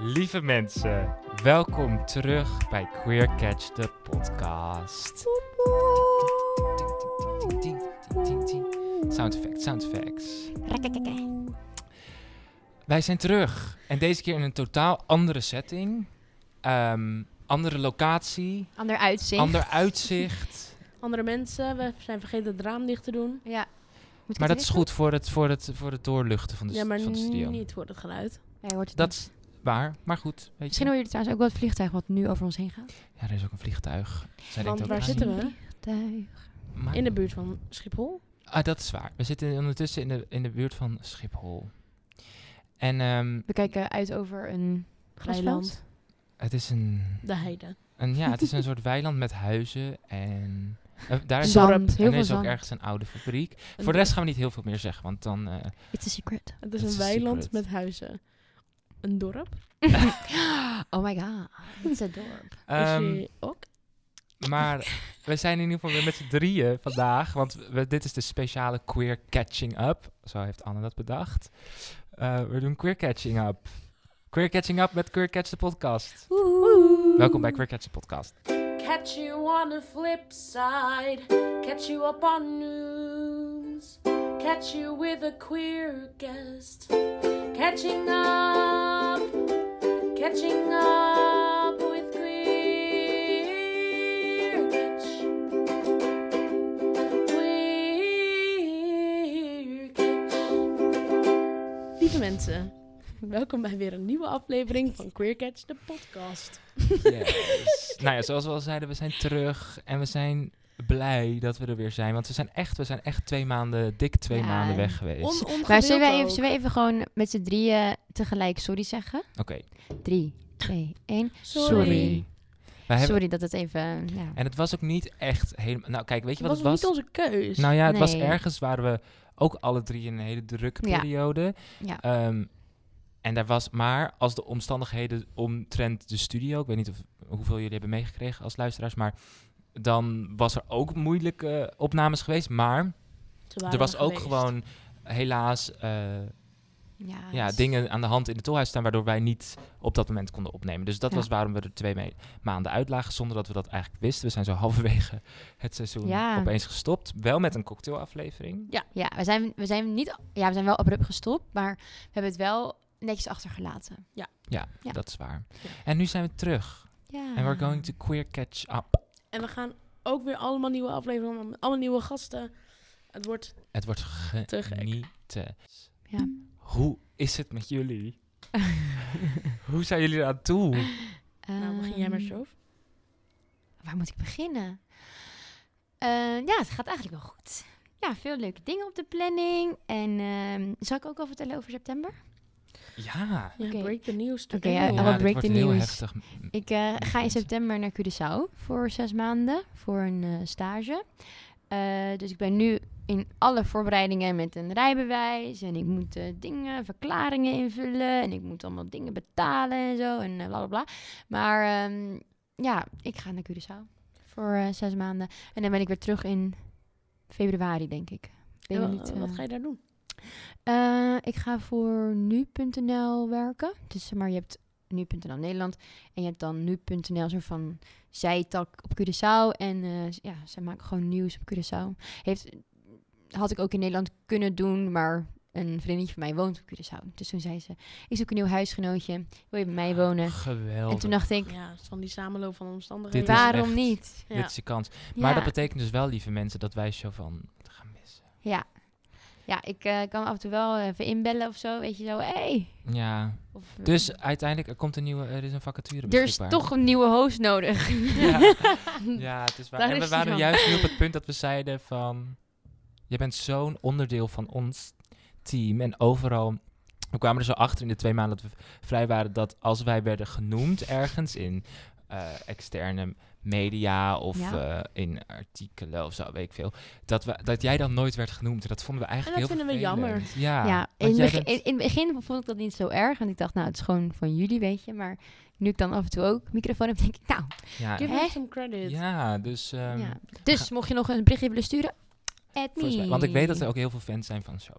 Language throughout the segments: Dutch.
Lieve mensen, welkom terug bij Queer Catch the Podcast. Sound effects, sound effects. Wij zijn terug en deze keer in een totaal andere setting, ehm, andere locatie, Ander uitzicht. ander uitzicht. Andere mensen, we zijn vergeten het raam dicht te doen. Ja. Moet ik Maar het dat is richten? goed voor het, voor het, voor het doorluchten van de, ja, st- maar van de studio. niet voor het geluid. Nee, hoort het Dat niet. is waar, maar goed. Weet Misschien je. hoor je trouwens ook wel het vliegtuig wat nu over ons heen gaat. Ja, er is ook een vliegtuig. Zij Want denkt ook waar aan- zitten we? Vliegtuig. Maar- In de buurt van Schiphol. Ah, dat is waar. We zitten ondertussen in de, in de buurt van Schiphol. En ehm, We kijken uit over een Eiland. glasveld. het is een, De heide. een, ja, het is een soort weiland met huizen en eh, daar is, Zand, en heel er is veel ook zand. ergens een oude fabriek. Voor de rest gaan we niet heel veel meer zeggen, want dan eh, It's a secret. Het is Het een is weiland secret. met huizen. Een dorp. Ah, Oh my god. Het is een dorp. ehm, is je ook? Maar we zijn in ieder geval weer met z'n drieën vandaag. Want we- dit is de speciale Queer Catching Up. Zo heeft Anne dat bedacht. Eh, we doen Queer Catching Up. Queer Catching Up met Queer Catch de podcast. Welkom bij Queer Catch de podcast. Catch you on the flip side. Catch you up on news. Catch you with a queer guest. Catching up. Catching up with queer catch. Queer catch. Lieve mensen, welkom bij weer een nieuwe aflevering van Queer Catch, de podcast. Yes. nou ja, zoals we al zeiden, we zijn terug. En we zijn blij dat we er weer zijn. Want we zijn echt, we zijn echt twee maanden, dik twee Ja. maanden weg geweest. Oké. Maar Ongewild zullen wij, ook. even, zullen wij even gewoon met z'n drieën tegelijk sorry zeggen? Drie, twee, één. Sorry. Sorry. Wij hebben, Sorry dat het even... Ja. En het was ook niet echt helemaal... Nou kijk, weet je Het wat was het was? niet onze keus. Nou ja, het was Nee. ergens waar we ook alle drie in een hele drukke Ja. periode. Ja. Ehm, en daar was maar, als de omstandigheden omtrent de studio, ik weet niet of, hoeveel jullie hebben meegekregen als luisteraars, maar dan was er ook moeilijke opnames geweest. Maar Ze waren er was ook geweest. gewoon helaas eh, Ja, ja, Ah, dus- dingen aan de hand in het tolhuis staan waardoor wij niet op dat moment konden opnemen. Dus dat Ja. was waarom we er twee me- maanden uit lagen zonder dat we dat eigenlijk wisten. We zijn zo halverwege het seizoen Ja. opeens gestopt. Wel met een cocktailaflevering. Ja, we zijn, we zijn niet... Ja, we zijn wel abrupt gestopt, maar we hebben het wel netjes achtergelaten. Ja, Ja. Ah. dat is waar. Ja. En nu zijn we terug. Ja. En we're going to queer catch up. En we gaan ook weer allemaal nieuwe afleveringen met allemaal nieuwe gasten. Het wordt Het wordt Te gek. genieten. Ja. Hoe is het met jullie? Hoe zijn jullie eraan Ah. toe? Nou, begin jij maar Ehm, zo. Waar moet ik beginnen? Eh, ja, het gaat eigenlijk wel goed. Ja, veel leuke dingen op de planning. En ehm, zal ik ook al vertellen over september? Ja. Ja, Oké. break the news. Oké, today. ja, I ja, will dit break wordt the heel news. heftig. Ik eh, Lieve ga in mensen. september naar Curaçao voor zes maanden voor een eh, stage. Eh, dus ik ben nu in alle voorbereidingen met een rijbewijs. En ik moet eh, dingen, verklaringen invullen. En ik moet allemaal dingen betalen en zo. En eh, bla bla bla. Maar ehm, ja, ik ga naar Curaçao voor eh, zes maanden. En dan ben ik weer terug in februari, denk ik. Ik weet En wa- nog niet, wat eh, ga je daar doen? eh, ik ga voor nu.nl werken. Dus zeg maar, je hebt nu.nl Nederland en je hebt dan nu.nl soort van zijtak op Curaçao. En eh, ja, ze maken gewoon nieuws op Curaçao. Heeft, had ik ook in Nederland kunnen doen, maar een vriendinnetje van mij woont op Curaçao. Dus toen zei ze, ik zoek een nieuw huisgenootje, wil je bij mij wonen? Ah, Geweldig. En toen dacht ik, Ja, van die samenloop van Dit omstandigheden. is waarom echt- niet? Ja. Dit is je kans. Maar Ja. dat betekent dus wel, lieve mensen, dat wij zo van gaan missen. Ja, ja ik eh, kan af en toe wel even inbellen of zo, weet je zo, hey. Ja. Of, Dus uiteindelijk, er komt een nieuwe, er is een vacature er is beschikbaar. toch een nieuwe host nodig. Ja, ja het is waar. Daar en we is hij waren dan. juist nu op het punt dat we zeiden van... Je bent zo'n onderdeel van ons team. En overal... We kwamen er zo achter in de twee maanden dat we vrij waren... dat als wij werden genoemd ergens in eh, externe media... of Ja. eh, in artikelen of zo, weet ik veel... Dat, we, dat jij dan nooit werd genoemd. En dat vonden we eigenlijk En dat heel vinden we jammer. vervelend. Ja, Ja, in, want het jij begin, bent- in het begin vond ik dat niet zo erg. Want ik dacht, nou, het is gewoon van jullie, weet je. Maar nu ik dan af en toe ook microfoon heb, denk ik, nou. ja, Give Hè? us some credit. ja, dus... ehm, ja. Dus mocht je nog een berichtje willen sturen, add volgens me. mij- want ik weet dat er ook heel veel fans zijn van Show.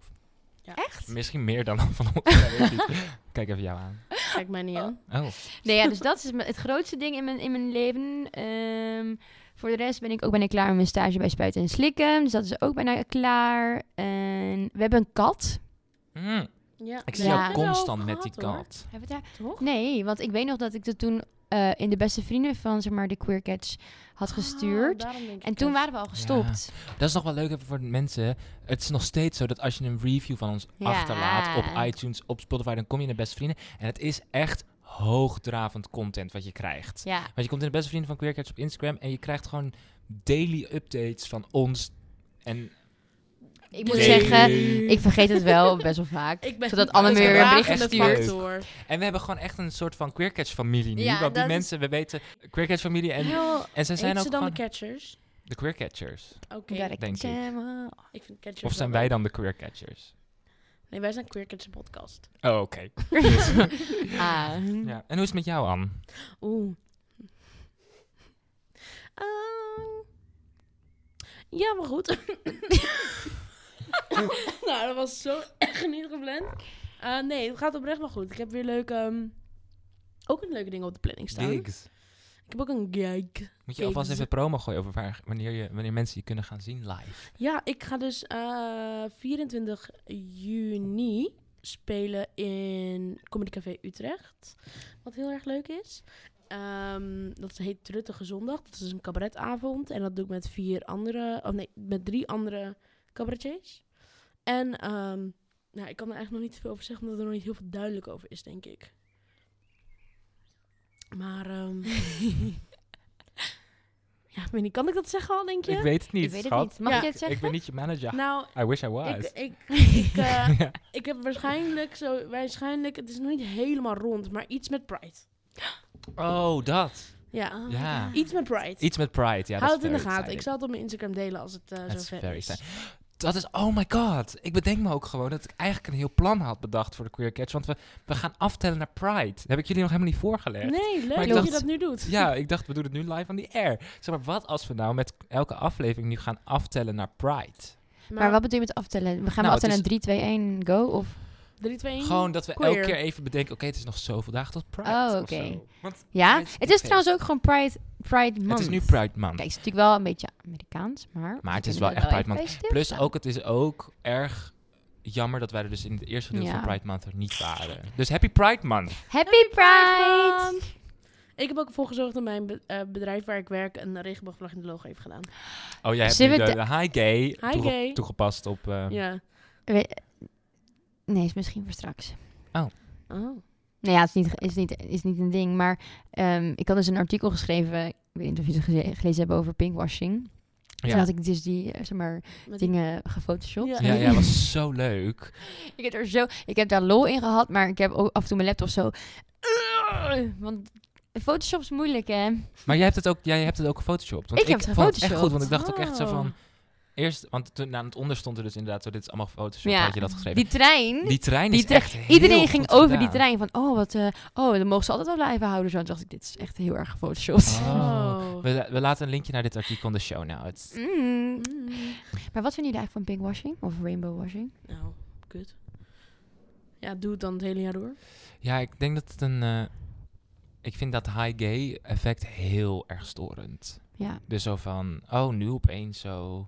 Ja. Echt? Misschien meer dan van ons. Ja, weet ik niet. Kijk even jou aan. Kijk mij niet aan. Oh, Nee, ja, dus dat is me- het grootste ding in mijn, in mijn leven. Ehm, voor de rest ben ik ook bijna klaar met mijn stage bij Spuiten en Slikken. Dus dat is ook bijna klaar. En we hebben een kat. Mm, Ja. ik zie Ja. jou Hebben constant met die kat. Hebben we het daar- Toch? Nee, want ik weet nog dat ik dat toen eh, in de beste vrienden van zeg maar, de Queer Catch Ah, had gestuurd. en toen waren we al gestopt. Dat is nog wel leuk even voor de mensen. Het is nog steeds zo dat als je een review van ons Ja. achterlaat op iTunes, op Spotify, dan kom je in de beste vrienden. En het is echt hoogdravend content wat je krijgt. Ja, Want je komt in de beste vrienden van Queercats op Instagram en je krijgt gewoon daily updates van ons. En ik moet Nee. zeggen, ik vergeet het wel best wel vaak. Ik ben zodat Anne me weer een gedragende bericht factor. stuurt. Door. En we hebben gewoon echt een soort van queercatch-familie nu. Ja, want die dat mensen, we weten, queercatch-familie en, Heel, en zij zijn heet ook ze dan gewoon de catchers? de queercatchers. Oké. Gotta Denk catch ik. 'em all. Ik vind catchers Of zijn wel wij leuk. dan de queercatchers? Nee, wij zijn Queer Catchers podcast. Oh, oké. Ah. Ja. En hoe is het met jou, Anne? Oeh. Ehm, ja, maar goed. nou, dat was zo echt niet gepland. Eh, nee, het gaat oprecht wel goed. Ik heb weer leuk... ehm, ook een leuke ding op de planning staan. Gigs. Ik heb ook een gig. Moet je alvast Gigs. even promo gooien over waar, wanneer, je, wanneer mensen je kunnen gaan zien live. Ja, ik ga dus eh, 24 juni spelen in Comedy Café Utrecht. Wat heel erg leuk is. Ehm, dat heet Truttige Zondag. Dat is een cabaretavond. En dat doe ik met vier andere, of nee, met drie andere cabaretiers. En ehm, nou, ik kan er eigenlijk nog niet veel over zeggen, omdat er nog niet heel veel duidelijk over is, denk ik. Maar, ehm, ja, ik weet niet, kan ik dat zeggen al, denk je? Ik weet het niet, Ik weet het schat. niet. Mag Ja, je het zeggen? Ik ben niet je manager. Nou, I wish I was. ik, ik, ik, eh, Ja. ik heb waarschijnlijk zo, waarschijnlijk, het is nog niet helemaal rond, maar iets met Pride. Oh, dat. Ja, Ah. Ja. iets met Pride. Iets met pride. Ja, Houd dat het is in de very gaten. exciting. Ik zal het op mijn Instagram delen als het eh zo That's ver very is. exciting. Dat is, oh my god. Ik bedenk me ook gewoon dat ik eigenlijk een heel plan had bedacht voor de Queer Catch. Want we, we gaan aftellen naar Pride. Dat heb ik jullie nog helemaal niet voorgelegd. Nee, leuk ik dat dacht- je dat nu doet. Ja, ik dacht, we doen het nu live on the air. Zeg maar, wat als we nou met elke aflevering nu gaan aftellen naar Pride? Maar wat bedoel je met aftellen? We gaan Nou, het aftellen is- naar 3, 2, 1, go? Of... 3, 2, 1. Gewoon dat we queer. elke keer even bedenken, oké, het is nog zoveel dagen tot Pride. Oh, of oké. zo. Want Ja, Pride het is oké. trouwens ook gewoon Pride, Pride Month. Het is nu Pride Month. Kijk, het is natuurlijk wel een beetje Amerikaans, maar... Maar het we is kunnen wel er echt Pride even Month. bij stilstaan. Plus ook, het is ook erg jammer dat wij er dus in het eerste gedeelte Ja. van Pride Month er niet waren. Dus happy Pride Month. Happy Pride! Pride! Ik heb ook ervoor gezorgd dat mijn be- eh, bedrijf waar ik werk een regenboogvlag in het logo heeft gedaan. Oh, jij hebt nu Zullen de, we de high gay, toege- gay. toegepast op... eh, Ja. We- Nee, is misschien voor straks. Oh. Nou ja, het is niet, is niet, is niet een ding, maar ehm, ik had dus een artikel geschreven... Ik weet niet of je het geze- gelezen hebt over pinkwashing. Toen had ik dus die, eh, zeg maar, Met die- dingen gefotoshopt. Ja. Ja, ja, was zo leuk. Ik heb, er zo, ik heb daar lol in gehad, maar ik heb ook af en toe mijn laptop zo... Want Photoshop is moeilijk, hè? Maar jij hebt het ook, jij hebt het ook gefotoshopt. Want Ik heb het vond het echt gefotoshopt. goed, want ik dacht ook echt zo van... Oh. Eerst, want toen, aan het onder stond er dus inderdaad zo, dit is allemaal gefotoshopt, Ja. had je dat geschreven. Die trein... Die, trein die is trein- echt heel Iedereen ging goed over die gedaan. trein van, oh, wat, eh, oh, dan mogen ze altijd wel blijven houden. Zo, toen dacht ik, dit is echt heel erg gefotoshopt. Oh. Oh. We, we laten een linkje naar dit artikel in de show notes. Mm. Mm. Maar wat vinden jullie eigenlijk van pinkwashing of rainbowwashing? Nou, kut. Ja, doe het dan het hele jaar door. Ja, ik denk dat het een... eh, ik vind dat high gay effect heel erg storend. Ja, Dus zo van, oh, nu opeens zo...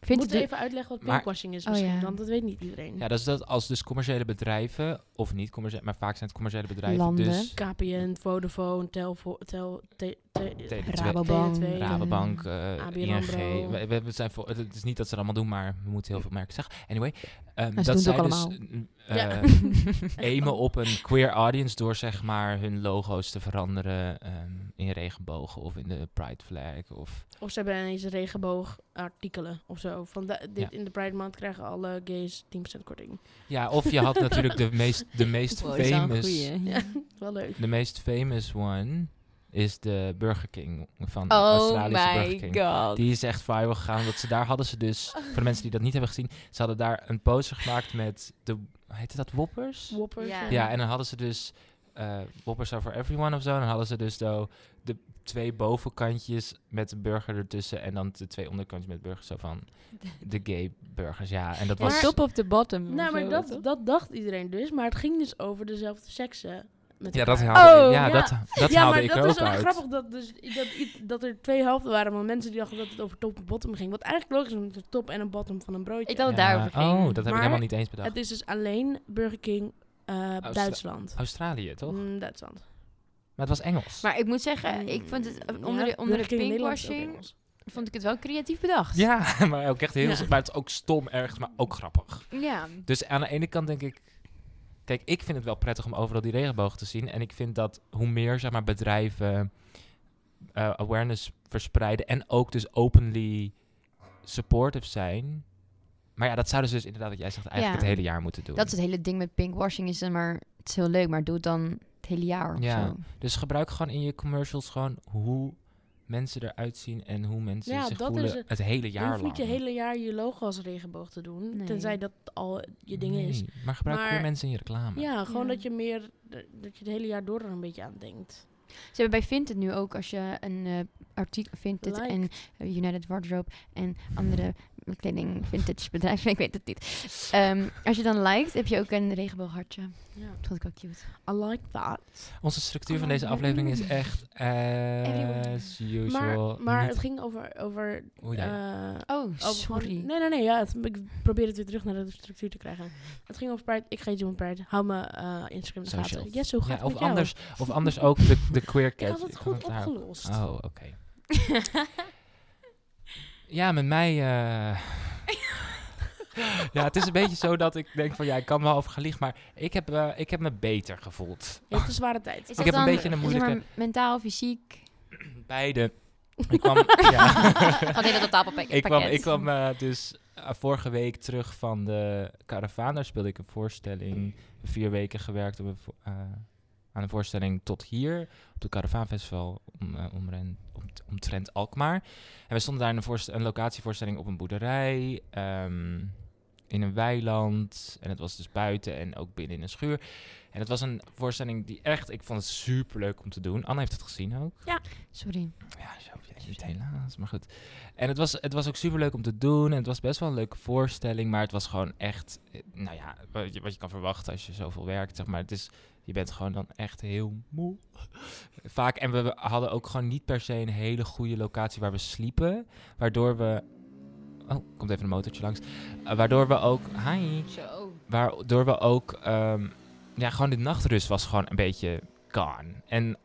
vindt Moeten het we even uitleggen wat Maar- pinkwashing is Oh, misschien, ja. want dat weet niet iedereen. Ja, dat is dat als dus commerciële bedrijven, of niet commerciële, maar vaak zijn het commerciële bedrijven, Landen. dus KPN, Vodafone, Telvo, Tel, te, te- Tele2. Rabobank. Tele2. Rabobank, eh, ABN ING. AMRO. We, we- we zijn voor, het is niet dat ze het allemaal doen, maar we moeten heel veel merken zeggen. Anyway, ehm, doen dat het zij ook dus allemaal. mm, Ja. eh, aimen op een queer audience door zeg maar hun logo's te veranderen ehm, in regenbogen of in de pride flag of... Of ze hebben ineens regenboogartikelen of zo. Van de- dit Ja. in de Pride Maand krijgen alle gays 10% korting. Ja, of je had natuurlijk de meest, de meest famous... Wel leuk. De meest famous one is de Burger King van de Oh Australische Burger my King. god. Die is echt viral gegaan. Want ze, daar hadden ze dus, voor de mensen die dat niet hebben gezien, ze hadden daar een poster gemaakt met de, heette dat Whoppers? Whoppers. Ja. Ja, en dan hadden ze dus eh Whoppers are for everyone of zo. En dan hadden ze dus zo de twee bovenkantjes met de burger ertussen. En dan de twee onderkantjes met burgers. Zo van de gay burgers, ja. En dat Ja, was... top of the bottom. Nou, of maar zo, dat, toch? dat dacht iedereen dus. Maar het ging dus over dezelfde seksen. met Ja, dat elkaar. haalde, Oh, ja, ja. Dat, dat ja, haalde maar ik dat ook is wel uit. grappig dat, dus, dat, i- dat er twee helften waren van mensen die dachten dat het over top en bottom ging. Wat eigenlijk logisch is, want het top en een bottom van een broodje. Ik dacht het daarover Ja, ging. Oh, dat heb ik Maar helemaal niet eens bedacht. het is dus alleen Burger King eh, Duitsland. Australië, Ah, toch? Mm, Duitsland. Maar het was Engels. Maar ik moet zeggen, ik vond het eh, onder Hmm. Ja, de, onder de Burger King in Nederland is ook pinkwashing Engels. vond ik het wel creatief bedacht. ja, maar ook echt heel... Ja. Maar het is ook stom ergens, maar ook grappig. Ja. Dus aan de ene kant denk ik... Kijk, ik vind het wel prettig om overal die regenboog te zien. En ik vind dat hoe meer zeg maar, bedrijven eh, awareness verspreiden... en ook dus openly supportive zijn... Maar ja, dat zouden ze dus inderdaad, wat jij zegt, eigenlijk Ja. het hele jaar moeten doen. Dat is het hele ding met pinkwashing is dan maar het is heel leuk, maar doe het dan het hele jaar of Ja. zo. Dus gebruik gewoon in je commercials gewoon hoe mensen eruit zien en hoe mensen Ja, zich dat voelen is het. het, hele Je jaar hoeft lang. niet je hele jaar je logo als regenboog te doen. Nee. Tenzij dat al je ding is. Nee, Maar gebruik Maar- weer mensen in je reclame. Ja, gewoon Ja. dat je meer dat je het hele jaar door er een beetje aan denkt. Ze hebben bij Vinted nu ook, als je een eh artikel Vinted Like. en eh, United Wardrobe en andere kleding vintage bedrijven, ik weet het niet. Ehm, als je dan liked, heb je ook een regenbooghartje. Ja. Dat vond ik wel cute. I like that. Onze structuur van Oh, deze aflevering is echt Everyone. as usual. Maar, maar niet- het ging over, over Oei, daar- eh, Oh, Over gewoon- sorry. nee, nee, nee. Ja, het- ik probeer het weer terug naar de structuur te krijgen. Het ging over Pride. Ik ga iets doen met Pride. Hou me eh, Instagram in de Social. gaten. Yes, hoe gaat Ja, het of, met jou? anders, of anders ook de, de queer Ik cat. had het goed daar- opgelost. Oh, oké. Ja, met mij... eh, ja, het is een beetje zo dat ik denk van... Ja, ik kan wel over gelicht, maar ik heb, eh, ik heb me beter gevoeld. Je hebt een zware tijd. heb Is dat een dan, beetje een zeg moeilijke- maar, mentaal, fysiek. Beide. Ik kwam, ja. Had hele totaalpakket. ik kwam, ik kwam eh, dus eh, vorige week terug van de caravaan. Daar speelde ik een voorstelling. Vier weken gewerkt op een vo- eh, aan een voorstelling tot hier. Op de Caravaanfestival om, eh, omren- omt- omtrent Alkmaar. En we stonden daar in een, voorst- een locatievoorstelling op een boerderij. ehm, in een weiland. En het was dus buiten en ook binnen in een schuur. En het was een voorstelling die echt... Ik vond het super leuk om te doen. Anne heeft het gezien ook. Sorry. Ja, zo weet je het helaas. Maar goed. En het was, het was ook super leuk om te doen. En het was best wel een leuke voorstelling. Maar het was gewoon echt. eh, Nou ja, wat je, wat je kan verwachten als je zoveel werkt. Zeg maar het is. Je bent gewoon dan echt heel moe. Vaak. En we hadden ook gewoon niet per se een hele goede locatie waar we sliepen. Waardoor we. Oh, komt even een motortje langs. Eh, waardoor we ook. Hi. Zo. Waardoor we ook. ehm, ja, gewoon de nachtrust was gewoon een beetje gone. En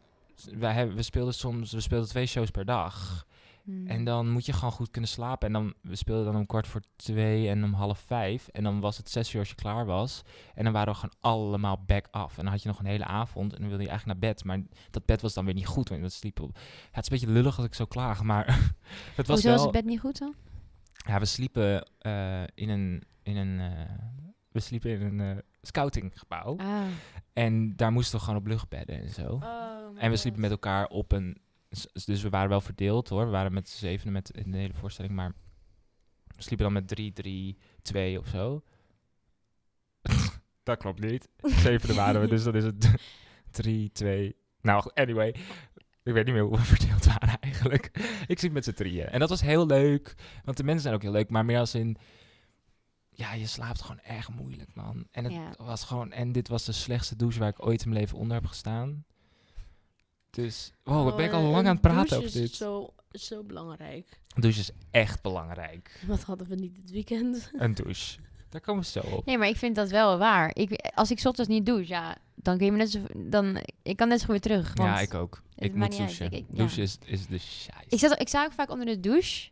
wij hebben, we speelden soms. We speelden twee shows per dag. Hmm. Mm. En dan moet je gewoon goed kunnen slapen. En dan, we speelden dan om kwart voor twee en om half vijf. En dan was het zes uur als je klaar was. En dan waren we gewoon allemaal back af. En dan had je nog een hele avond. En dan wilde je eigenlijk naar bed. Maar dat bed was dan weer niet goed. Want we sliepen op. Ja, het is een beetje lullig dat ik zo klaag. Maar het was Hoezo was wel... het bed niet goed dan? Ja, we sliepen eh, in een... In een eh, we sliepen in een eh, scoutinggebouw. Ah. En daar moesten we gewoon op luchtbedden en zo. Oh, En we sliepen met elkaar op een. s- Dus we waren wel verdeeld hoor. We waren met z'n zevenen met in de hele voorstelling, maar we sliepen dan met 3, 3, 2 of zo. dat klopt niet. Zevenen waren we, dus dan is het 3, 2. Nou, anyway. Ik weet niet meer hoe we verdeeld waren eigenlijk. Ik sliep met z'n drieën. En dat was heel leuk. Want de mensen zijn ook heel leuk, maar meer als in. Ja, je slaapt gewoon erg moeilijk, man. En, het Ja. was gewoon, en dit was de slechtste douche waar ik ooit in mijn leven onder heb gestaan. Dus, wow, ik ben ik al Oh, lang aan het praten over dit. Oh, is zo, zo belangrijk. Een douche is echt belangrijk. Wat hadden we niet dit weekend? Een douche. Daar komen we zo op. Nee, maar ik vind dat wel waar. Ik, als ik 's ochtends niet douche, ja, dan kun je me net zo, dan, ik kan net zo goed weer terug. Want ja, ik ook. Ik moet maakt niet uit, douchen. ik- ik- ja. Douche is, is de scheiß. Ik, zat, ik sta ook vaak onder de douche.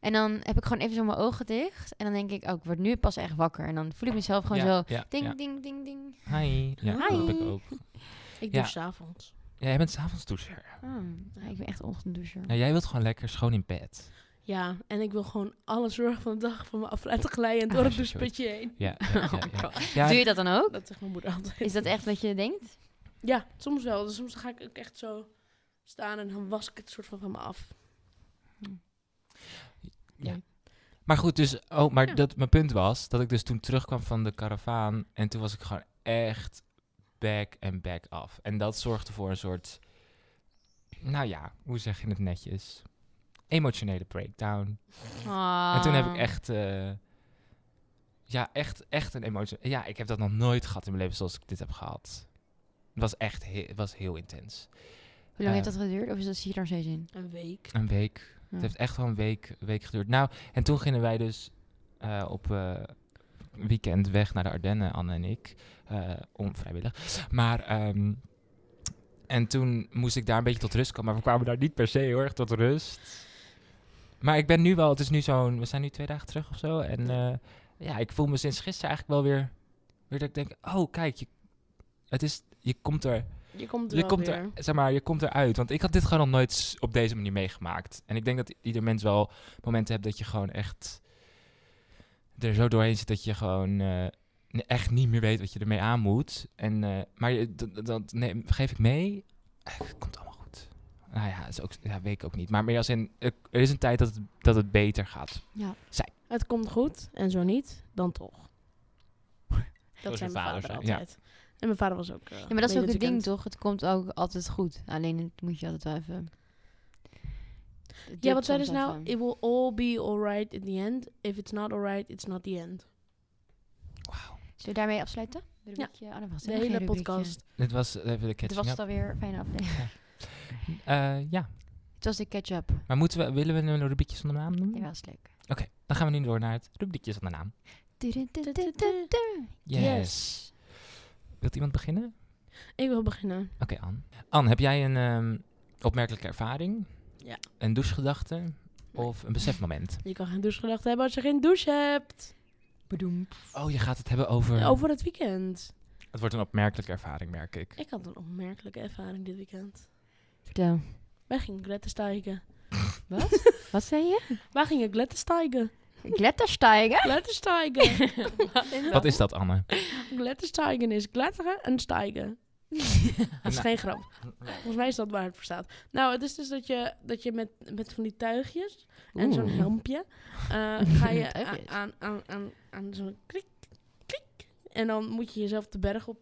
En dan heb ik gewoon even zo mijn ogen dicht. En dan denk ik, oh, ik word nu pas echt wakker. En dan voel ik mezelf Ja, gewoon zo. ja, Ding, ja. ding, ding, ding. Hi. Ja, dat Hi. heb ik ook. Ik Ja. doe s'avonds. Ja, jij bent s'avonds doucher. Ah, ja, ik ben echt een ochtenddoucher. Nou, jij wilt gewoon lekker schoon in bed. Ja, en ik wil gewoon alle zorg van de dag van me af laten glijden en door Ah, het sorry. doucheputje heen. Oh, Ja, ja, ja, ja. Oh, Ja, Doe je dat dan ook? Dat zegt mijn moeder altijd. Is dat echt wat je denkt? Ja, soms wel. Dus soms ga ik ook echt zo staan en dan was ik het soort van van me af. Maar goed, dus, oh, maar Ja. dat, mijn punt was dat ik dus toen terugkwam van de karavaan en toen was ik gewoon echt back en back af. En dat zorgde voor een soort, nou ja, hoe zeg je het netjes? Emotionele breakdown. En toen Ah. heb ik echt, eh, ja, echt, echt een emotie. Ja, ik heb dat nog nooit gehad in mijn leven zoals ik dit heb gehad. Het was echt he- het was heel intens. Hoe lang eh, heeft dat geduurd? Of is dat hier daar steeds in? Een week. Een week. Ja. Het heeft echt wel een week, week geduurd. Nou, en toen gingen wij dus eh, op eh, weekend weg naar de Ardennen, Anne en ik. eh onvrijwillig. Maar, ehm, en toen moest ik daar een beetje tot rust komen. Maar we kwamen daar niet per se heel erg tot rust. Maar ik ben nu wel, het is nu zo'n, we zijn nu twee dagen terug of zo. En eh, ja, ik voel me sinds gisteren eigenlijk wel weer, weer dat ik denk, oh kijk, je, het is, je komt er Je komt er je wel komt, weer. er, zeg maar, je komt eruit. Want ik had dit gewoon nog nooit s- op deze manier meegemaakt. En ik denk dat ieder mens wel momenten hebt dat je gewoon echt er zo doorheen zit dat je gewoon eh, n- echt niet meer weet wat je ermee aan moet. En, eh, maar je- dat, dat- dat nee, geef ik mee. Eh, Het komt allemaal goed. Nou ja, is ook, ja, weet ik ook niet. Maar meer als in, eh, er is een tijd dat het, dat het beter gaat. Ja. Het komt goed en zo niet, dan toch. Dat Zoals zijn je mijn vader vader zei, ja. altijd. En mijn vader was ook. eh, Ja, maar dat is mee ook het dit ding, weekend. toch? Het komt ook altijd goed. Alleen het moet je altijd wel even... Het Ja, duurt wat zei dus soms nou? even. It will all be alright in the end. If it's not alright, it's not the end. Zullen we daarmee afsluiten? Rubriekje? Oh, dat was De helemaal hele geen rubriekje. podcast. Dit was eh, even de Het was catching up. het alweer een fijne aflevering. Eh, ja, Het was de catch-up. maar moeten we, willen we een rubriekje zonder naam doen? Ja, was leuk. Oké, dan gaan we nu door naar het rubriekje zonder naam. Yes. Wilt iemand beginnen? Ik wil beginnen. Oké, Anne. Anne, heb jij een ehm, opmerkelijke ervaring? Ja. Een douchegedachte of een besefmoment? Je kan geen douchegedachten hebben als je geen douche hebt. Bedoemd. Oh, je gaat het hebben over... Over het weekend. Het wordt een opmerkelijke ervaring, merk ik. Ik had een opmerkelijke ervaring dit weekend. Vertel. Wij gingen gletterstijgen. Wat zei je? Wij gingen gletterstijgen. Kletterstijgen? Gletterstijgen. Wat is dat, Anne? gletterstijgen is kletteren en stijgen. Dat is Nou. geen grap. Volgens mij is dat waar het voor staat. Nou, het is dus dat je, dat je met, met van die tuigjes en zo'n Oeh. helmpje eh, ga je a- Tuigjes. aan, aan, aan, aan zo'n klik, klik. En dan moet je jezelf de berg op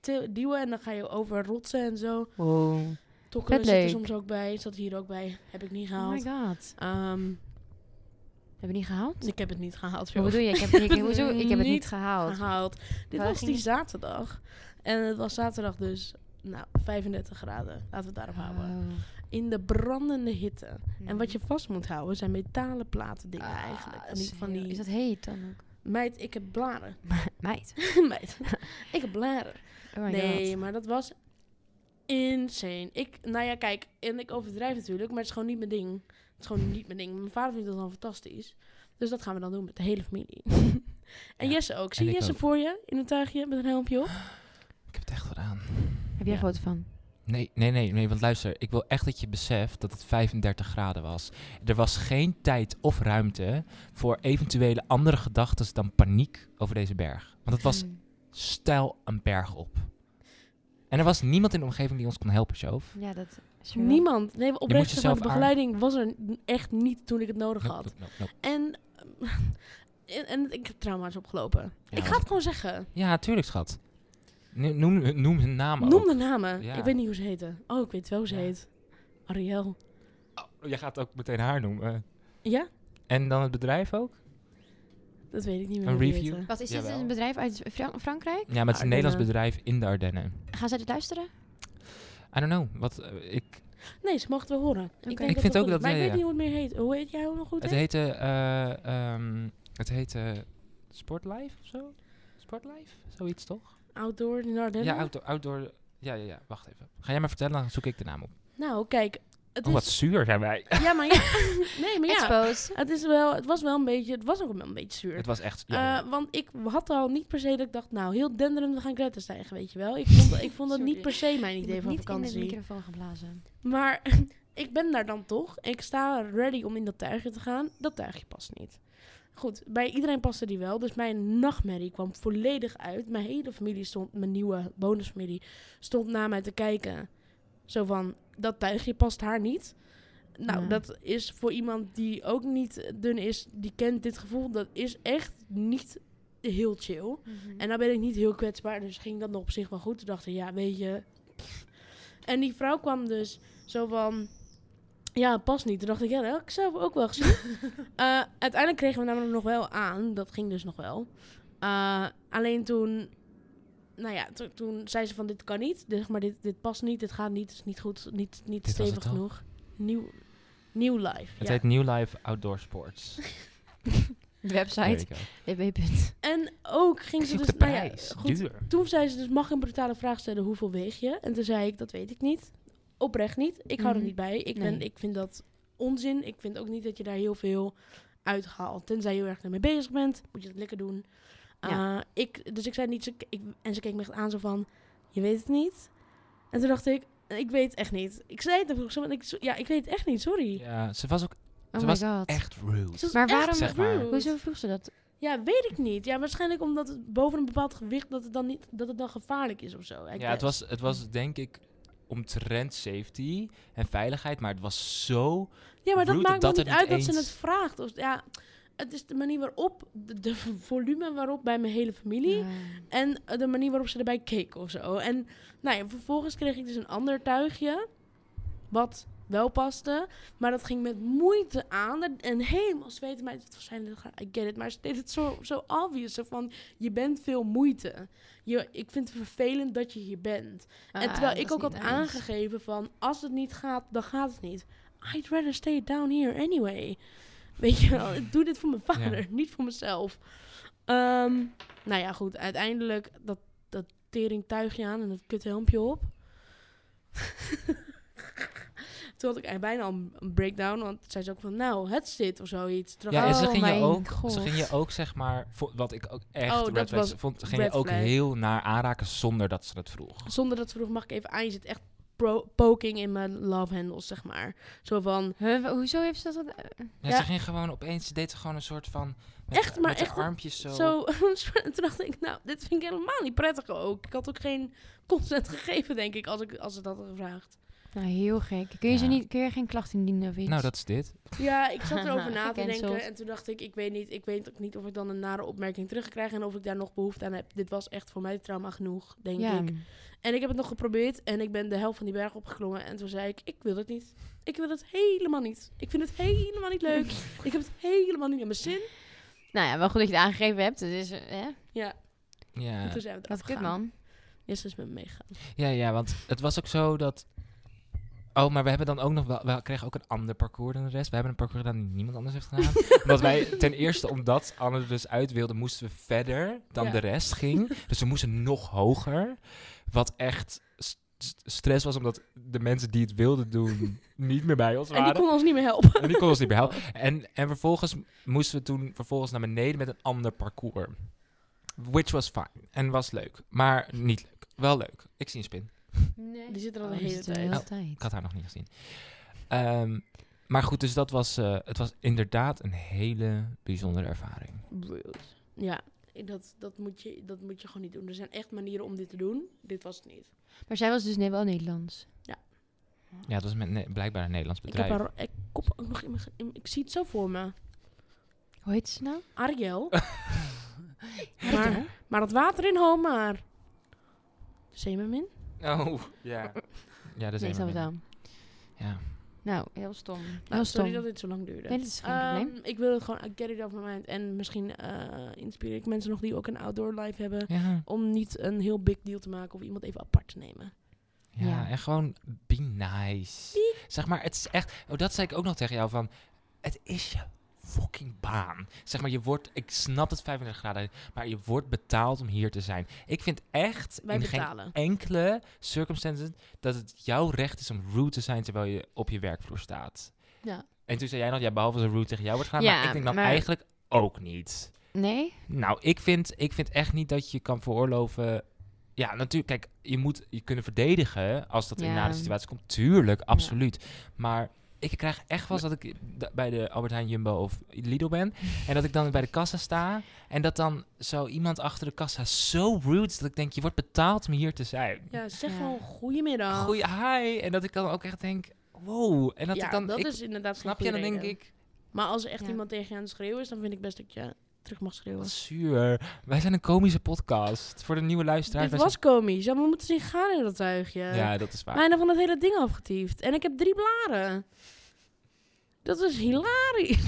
til- duwen en dan ga je over rotsen en zo. Wow. Oh Tokkelen Vet zit er leuk. soms ook bij, zat hier ook bij. Heb ik niet Oh my gehaald. god. Ehm, dus Hebben we niet gehaald? ik heb het niet gehaald. Hoe joh. bedoel je? Ik heb, ik, ik- hoezo? Ik heb het Niet niet gehaald. gehaald. Dit Waar ging was die het? zaterdag. En het was zaterdag dus, nou, 35 graden. Laten we het daarop houden. Oh. In de brandende hitte. En wat je vast moet houden zijn metalen platen dingen Mm. Ah, eigenlijk. Van is die, van heel- die... Is dat heet dan ook? Meid, ik heb blaren. Meid. Meid, ik heb blaren. Oh my nee, god. maar dat was insane. Ik, nou ja, kijk, en ik overdrijf natuurlijk, maar het is gewoon niet mijn ding. Het is gewoon niet mijn ding. Mijn vader vindt dat dan fantastisch. Dus dat gaan we dan doen met de hele familie. en Ja, Jesse ook. en Zie je ik Jesse ook. voor je in een tuigje met een helmpje op? Ik heb het echt gedaan. Heb jij Ja. foto van? Nee, nee, nee, nee, want luister. Ik wil echt dat je beseft dat het 35 graden was. Er was geen tijd of ruimte voor eventuele andere gedachten dan paniek over deze berg. Want het was Hmm. stijl een berg op. En er was niemand in de omgeving die ons kon helpen, Sjoof. Ja, dat is er wel. Niemand. Nee, oprecht gezegd, jezelf de begeleiding was er n- echt niet toen ik het nodig Nope, had. nope, nope, nope. En, en, en ik heb trauma's opgelopen. Ja, ik ga want- het gewoon zeggen. Ja, tuurlijk, schat. Ne- Noem, noem hun namen Noem ook. de namen. Ja. Ik weet niet hoe ze heten. Oh, ik weet wel hoe ze Ja. heet. Ariel. Oh, je gaat ook meteen haar noemen. Ja? En dan het bedrijf ook? Dat weet ik niet meer. Een hoe die review? heten. Wat is dit? Jawel. Een bedrijf uit Fra- Frankrijk? Ja, maar het is een Ardennen. Nederlands bedrijf in de Ardennen. Gaan zij dit luisteren? I don't know. Wat, eh, ik, Nee, ze mogen het wel horen. Oké. denk Ik vind wel ook goed dat- is. Maar ik ja, weet ja. niet hoe het meer heet. Hoe heet jij hoe nog goed? het heet? heette... eh, ehm, het heette Sportlife of zo? Sportlife? Zoiets toch? Outdoor in de Ardennen? Ja, outdoor, outdoor... Ja, ja, ja. Wacht even. Ga jij maar vertellen, dan zoek ik de naam op. Nou, kijk. Het Oh, wat is... zuur zijn wij. Ja, maar ja. nee, maar ja. Exposed. Het, is wel, het was wel een beetje... Het was ook wel een beetje zuur. Het was echt... Eh, Ja, ja. want ik had al niet per se dat ik dacht, nou, heel denderend, we gaan kletters stijgen, weet je wel. Ik vond, ik vond dat Sorry. niet per se mijn Ik idee moet van niet in de vakantie. microfoon geblazen. Maar ik ben daar dan toch. Ik sta ready om in dat tuigje te gaan. Dat tuigje past niet. Goed, bij iedereen paste die wel. Dus mijn nachtmerrie kwam volledig uit. Mijn hele familie stond, mijn nieuwe bonusfamilie, stond naar mij te kijken. Zo van, dat tuigje past haar niet. Nou, Ja. dat is voor iemand die ook niet dun is, die kent dit gevoel. Dat is echt niet heel chill. Mhm. En dan ben ik niet heel kwetsbaar, dus ging dat nog op zich wel goed. Toen dacht ik, ja, weet je. En die vrouw kwam dus zo van, ja, het past niet. Toen dacht ik, ja, dat heb ik zelf ook wel gezien. Eh, uiteindelijk kregen we namelijk nog wel aan, dat ging dus nog wel. Eh, alleen toen, nou ja, to- toen zei ze van, dit kan niet. Dit, maar dit, dit past niet, dit gaat niet, het is niet goed, niet, niet Dit was stevig het al? genoeg. Nieuw, nieuw live. Het ja. heet New Life Outdoor Sports. De There website. you go. www. Oh En ook ging ze Kijk op dus, de nou ja, prijs. goed, Duur. toen zei ze dus, mag ik een brutale vraag stellen, hoeveel weeg je? En toen zei ik, dat weet ik niet. Oprecht niet. Ik hou er Mhm. niet bij. Ik, ben, Nee. ik vind dat onzin. Ik vind ook niet dat je daar heel veel uit haalt. Tenzij je heel erg ermee bezig bent, moet je dat lekker doen. Ja. Eh, ik, dus ik zei niet, ze, ik, en ze keek me echt aan zo van, je weet het niet. En toen dacht ik, ik weet echt niet. Ik zei het, en vroeg ze, want ik, zo- ja, ik weet echt niet, sorry. Ja, ze was ook Oh Ze my was god. echt rude. Ze was Maar echt waarom- Zeg maar. rude. Hoezo vroeg ze dat? Ja, weet ik niet. Ja, waarschijnlijk omdat het boven een bepaald gewicht dat het dan niet dat het dan gevaarlijk is of zo. I Ja, het guess. Mm. was, het was denk ik omtrent safety en veiligheid, maar het was zo... Ja, maar dat rude maakt dat me niet het niet uit dat ze eens- het vraagt. Of, ja, het is de manier waarop, de, de volume waarop bij mijn hele familie Ja. en eh, de manier waarop ze erbij keek of zo. En nou ja, vervolgens kreeg ik dus een ander tuigje wat wel paste, maar dat ging met moeite aan en- en helemaal zweten. Maar het was zijn I get it, maar ze deed het zo, zo obvious. Zo van, je bent veel moeite. Je, ik vind het vervelend dat je hier bent. En Ah, terwijl dat ik is ook had niet nice. aangegeven van, als het niet gaat, dan gaat het niet. I'd rather stay down here anyway. Weet je wel, ik doe dit voor mijn vader, niet voor mezelf. Ehm, nou ja, goed, uiteindelijk dat, dat teringtuigje aan en dat kuthelmpje op. Toen had ik eigenlijk bijna al een- een breakdown, want zij zei ook van, nou, het zit of zoiets. Toen dacht Ja, en ik, ze Oh ging, je mijn ook, God. ze ging je ook, zeg maar, vo- wat ik ook echt Oh, red dat flags was vond, ging je red ook flag. heel naar aanraken zonder dat ze het vroeg. oh, Zonder dat ze vroeg, mag ik even aan, je zit echt pro- poking in mijn love handles, zeg maar. Zo van, Huh, wa- hoezo heeft ze dat? eh, Ja, Ja. Ze ging gewoon opeens, ze deed gewoon een soort van... Met, Echt, haar- maar met haar echt een- armpjes zo. Zo, toen dacht ik, nou, dit vind ik helemaal niet prettig ook. Ik had ook geen consent gegeven, denk ik, als ik als ze dat had gevraagd. Nou, heel gek. Kun je, ze Ja. niet, kun je geen klacht indienen of iets? Nou, dat is dit. Ja, ik zat erover na te Gecanceld. denken en toen dacht ik, ik weet niet, ik weet ook niet of ik dan een nare opmerking terugkrijg en of ik daar nog behoefte aan heb. Dit was echt voor mij trauma genoeg, denk ja. ik. En ik heb het nog geprobeerd en ik ben de helft van die berg opgeklommen en toen zei ik, ik wil het niet. Ik wil het helemaal niet. Ik vind het helemaal niet leuk. ik heb het helemaal niet in mijn zin. Nou ja, wel goed dat je het aangegeven hebt. Het is, eh, hè? Ja, en Ja. toen zijn we Wat eraf kut, gegaan. man. Yes, is met me meegegaan. Ja, ja, want het was ook zo dat... Oh, maar we hebben dan ook nog wel... We kregen ook een ander parcours dan de rest. We hebben een parcours gedaan die niemand anders heeft gedaan. omdat wij ten eerste, omdat Anne er dus uit wilde, moesten we verder dan Ja. de rest ging. Dus we moesten nog hoger. Wat echt st- st- stress was, omdat de mensen die het wilden doen niet meer bij ons En die waren. kon ons niet meer helpen. En die kon ons niet meer helpen. En, en vervolgens moesten we toen vervolgens naar beneden met een ander parcours. Which was fine. En was leuk. Maar niet leuk. Wel leuk. Ik zie een spin. Nee. Die zit er al Oh, de die hele zit er tijd. hele Oh. Ik had haar nog niet gezien. Ehm, maar goed, dus dat was, eh, het was inderdaad een hele bijzondere ervaring. Rude. Ja, dat, dat, moet je, dat moet je gewoon niet doen. Er zijn echt manieren om dit te doen. Dit was het niet. Maar zij was dus ne- wel Nederlands. Ja, het was met ne- blijkbaar een Nederlands Ik heb bedrijf. haar ik kop ook nog in mijn... ge- in- Ik zie het zo voor me. Hoe heet ze nou? Ariel. Ariel? maar, maar het water in Homaar. Zeemermin? Oh, ja. Ja, dat is Nee, helemaal snap het niet. wel. Ja. Nou, heel stom. Nou, heel sorry stom. dat dit zo lang duurde. Nee, dat is geen probleem. Ehm, ik wil het gewoon... I get it off my mind. En misschien eh, inspireer ik mensen nog die ook een outdoor life hebben... Ja, om niet een heel big deal te maken of iemand even apart te nemen. ja, Ja. en gewoon be nice. Zeg maar, het is echt... Oh, dat zei ik ook nog tegen jou van... Het is je fucking baan. Zeg maar, je wordt... Ik snap het 35 graden, maar je wordt betaald om hier te zijn. Ik vind echt... Wij in geen betalen. enkele circumstances dat het jouw recht is om rude te zijn terwijl je op je werkvloer staat. Ja. En toen zei jij nog, ja, behalve als er rude tegen jou wordt gedaan, Ja, maar ik denk dan maar- eigenlijk ook niet. Nee? Nou, ik vind, ik vind echt niet dat je kan veroorloven... Ja, natuurlijk, kijk, je moet je kunnen verdedigen als dat in Ja. een nare situatie komt. Tuurlijk, absoluut. Maar ik krijg echt wel eens dat ik d- bij de Albert Heijn Jumbo of Lidl ben... en dat ik dan bij de kassa sta en dat dan zo iemand achter de kassa zo rude is... dat ik denk, je wordt betaald om hier te zijn. Ja, zeg Ja. gewoon goedemiddag. Goeie hi. En dat ik dan ook echt denk, wow. En dat ja, ik dan, dat ik, is inderdaad geen snap je, dan goede denk reden. ik... Maar als er echt Ja. iemand tegen je aan het schreeuwen is, dan vind ik best dat je terug mag schreeuwen. Wat zuur. Wij zijn een komische podcast. Voor de nieuwe luisteraars. Dit wij was komisch. Ja, we moeten zien gaan in dat tuigje. Eh, zijn- Ja, dat is waar. Bijna van het hele ding afgetiefd. En ik heb drie blaren. Dat is hilarisch.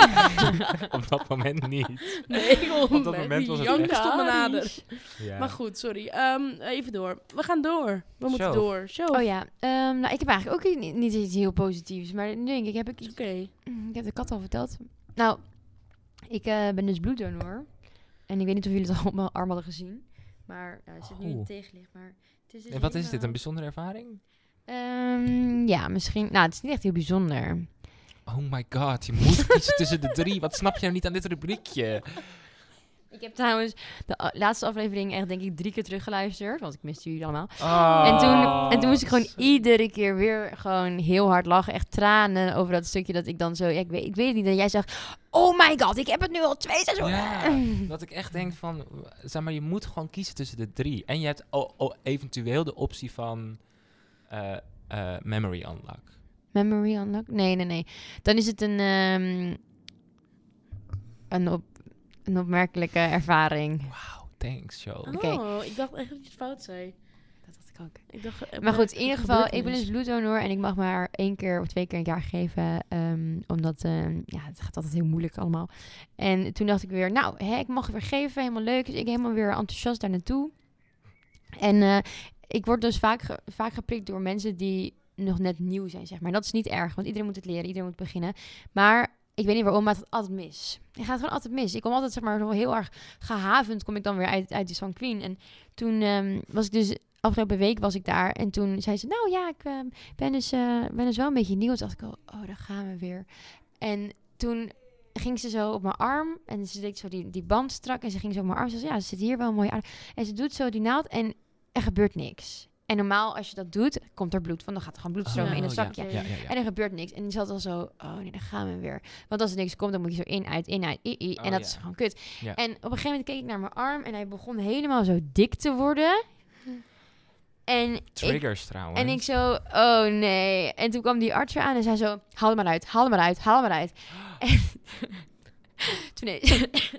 Op dat moment niet. Nee, joh. Op dat moment was het Jank echt- stond me nader. Ja. Maar goed, sorry. Ehm, even door. We gaan door. We moeten Show. door. Show. Oh ja, ehm, nou, ik heb eigenlijk ook i- niet, niet iets heel positiefs. Maar nu denk ik, heb ik, Is iets- Mm, Oké. ik heb de kat al verteld. Nou, ik eh, ben dus bloeddonor. En ik weet niet of jullie het al op mijn arm hadden gezien. Maar ja, het zit nu in Oh. het tegenlicht. Maar het is dus En wat is dit? helemaal- Een bijzondere ervaring? Ehm, ja, misschien. Nou, het is niet echt heel bijzonder. Oh my god, je moet kiezen tussen de drie. Wat snap je nou niet aan dit rubriekje? Ik heb trouwens de a- laatste aflevering echt, denk ik, drie keer teruggeluisterd. Want ik miste jullie allemaal. Ah. En, toen, en toen moest ik gewoon iedere keer weer gewoon heel hard lachen. Echt tranen over dat stukje dat ik dan zo... Ja, ik, weet, ik weet het niet. En jij zegt, oh my god, ik heb het nu al twee seizoenen. Ja, dat ik echt denk van, w- zeg maar, je moet gewoon kiezen tussen de drie. En je hebt o- o- eventueel de optie van eh, eh, memory unlock. Memory unlock? Nee, nee, nee. Dan is het een, ehm, een, op, een opmerkelijke ervaring. Wauw, thanks, Joe. Oké. Oh, ik dacht echt dat je het fout zei. Dat dacht ik ook. Ik dacht, eh, Maar goed, in het ieder geval, gebeurt ik ben niet. dus bloeddonor en ik mag maar één keer of twee keer een jaar geven. ehm, omdat, ehm, ja, het gaat altijd heel moeilijk allemaal. En toen dacht ik weer, nou, hè, ik mag weer geven, helemaal leuk. Dus ik helemaal weer enthousiast daar naartoe. En eh, ik word dus vaak, ge- vaak geprikt door mensen die nog net nieuw zijn, zeg maar. Dat is niet erg, want iedereen moet het leren, iedereen moet beginnen. Maar ik weet niet waarom, maar het gaat altijd mis. Het gaat gewoon altijd mis. Ik kom altijd, zeg maar, zo heel erg gehavend kom ik dan weer uit, uit die San Queen. En toen ehm, was ik dus afgelopen week was ik daar en toen zei ze, nou ja, ik ehm, ben, dus, eh, ben dus wel een beetje nieuw. Toen dacht ik, al, oh, daar gaan we weer. En toen ging ze zo op mijn arm en ze deed zo die, die band strak en ze ging zo op mijn arm. Ze zei, ja, ze zit hier wel een mooie arm. En ze doet zo die naald en er gebeurt niks. En normaal als je dat doet, komt er bloed van, dan gaat er gewoon bloed stromen in Oh, het ja, zakje. Ja, ja, ja. En er gebeurt niks. En die zat al zo, oh nee, daar gaan we weer. Want als er niks komt, dan moet je zo in, uit, in, uit, i, i. en Oh, dat ja. is gewoon kut. Ja. En op een gegeven moment keek ik naar mijn arm en hij begon helemaal zo dik te worden. En ik, Triggers trouwens. en ik zo, oh nee. En toen kwam die arts weer aan en zei zo, haal hem maar uit, haal hem maar uit, haal hem maar uit. En toen, heeft,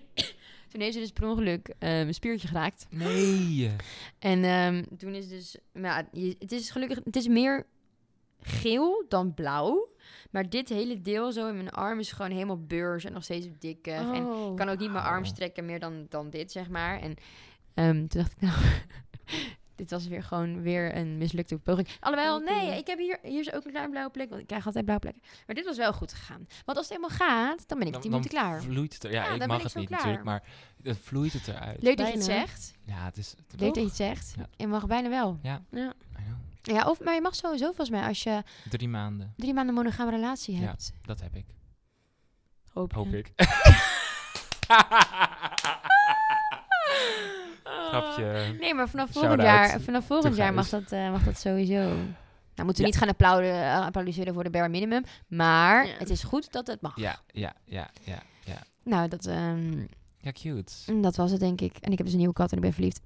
toen heeft ze dus per ongeluk eh, mijn spiertje geraakt. Nee. En ehm, toen is dus, maar ja, je- het is gelukkig, het is meer geel dan blauw. Maar dit hele deel zo in mijn arm is gewoon helemaal beurs en nog steeds dikker. dus En ik Oh. kan ook niet mijn arm Wauw. strekken meer dan, dan dit, zeg maar. En ehm, toen dacht ik, nou, dit was weer gewoon weer een mislukte poging. Alhoewel, Oké. nee, ik heb hier, hier is ook een klein blauwe plek, want ik krijg altijd blauwe plekken. Maar dit was wel goed gegaan. Want als het helemaal gaat, dan ben ik Dan- tien minuten dan klaar. Vloeit het er, ja, Ja, dan ik ben mag ik het zo niet klaar. natuurlijk, maar dan vloeit het eruit. Leuk dat je het Bijna. zegt. Ja, het is... het- Leuk dat je het zegt. Ja. Je mag bijna wel. Ja. I know. Ja, of, maar je mag sowieso volgens mij als je Drie maanden, drie maanden een monogame relatie Ja. hebt. dat heb ik. Hoop, Hoop ik. Grapje. Nee, maar vanaf Shout-out. volgend jaar, vanaf volgend Gijs. jaar mag, dat, eh, mag dat sowieso. Nou, moeten we Ja. niet gaan applauden, eh, applaudisseren voor de bare minimum. Maar Ja. het is goed dat het mag. Ja, ja, ja, ja, ja. Nou, dat, ehm, Ja, cute. dat was het, denk ik. En ik heb dus een nieuwe kat en ik ben verliefd.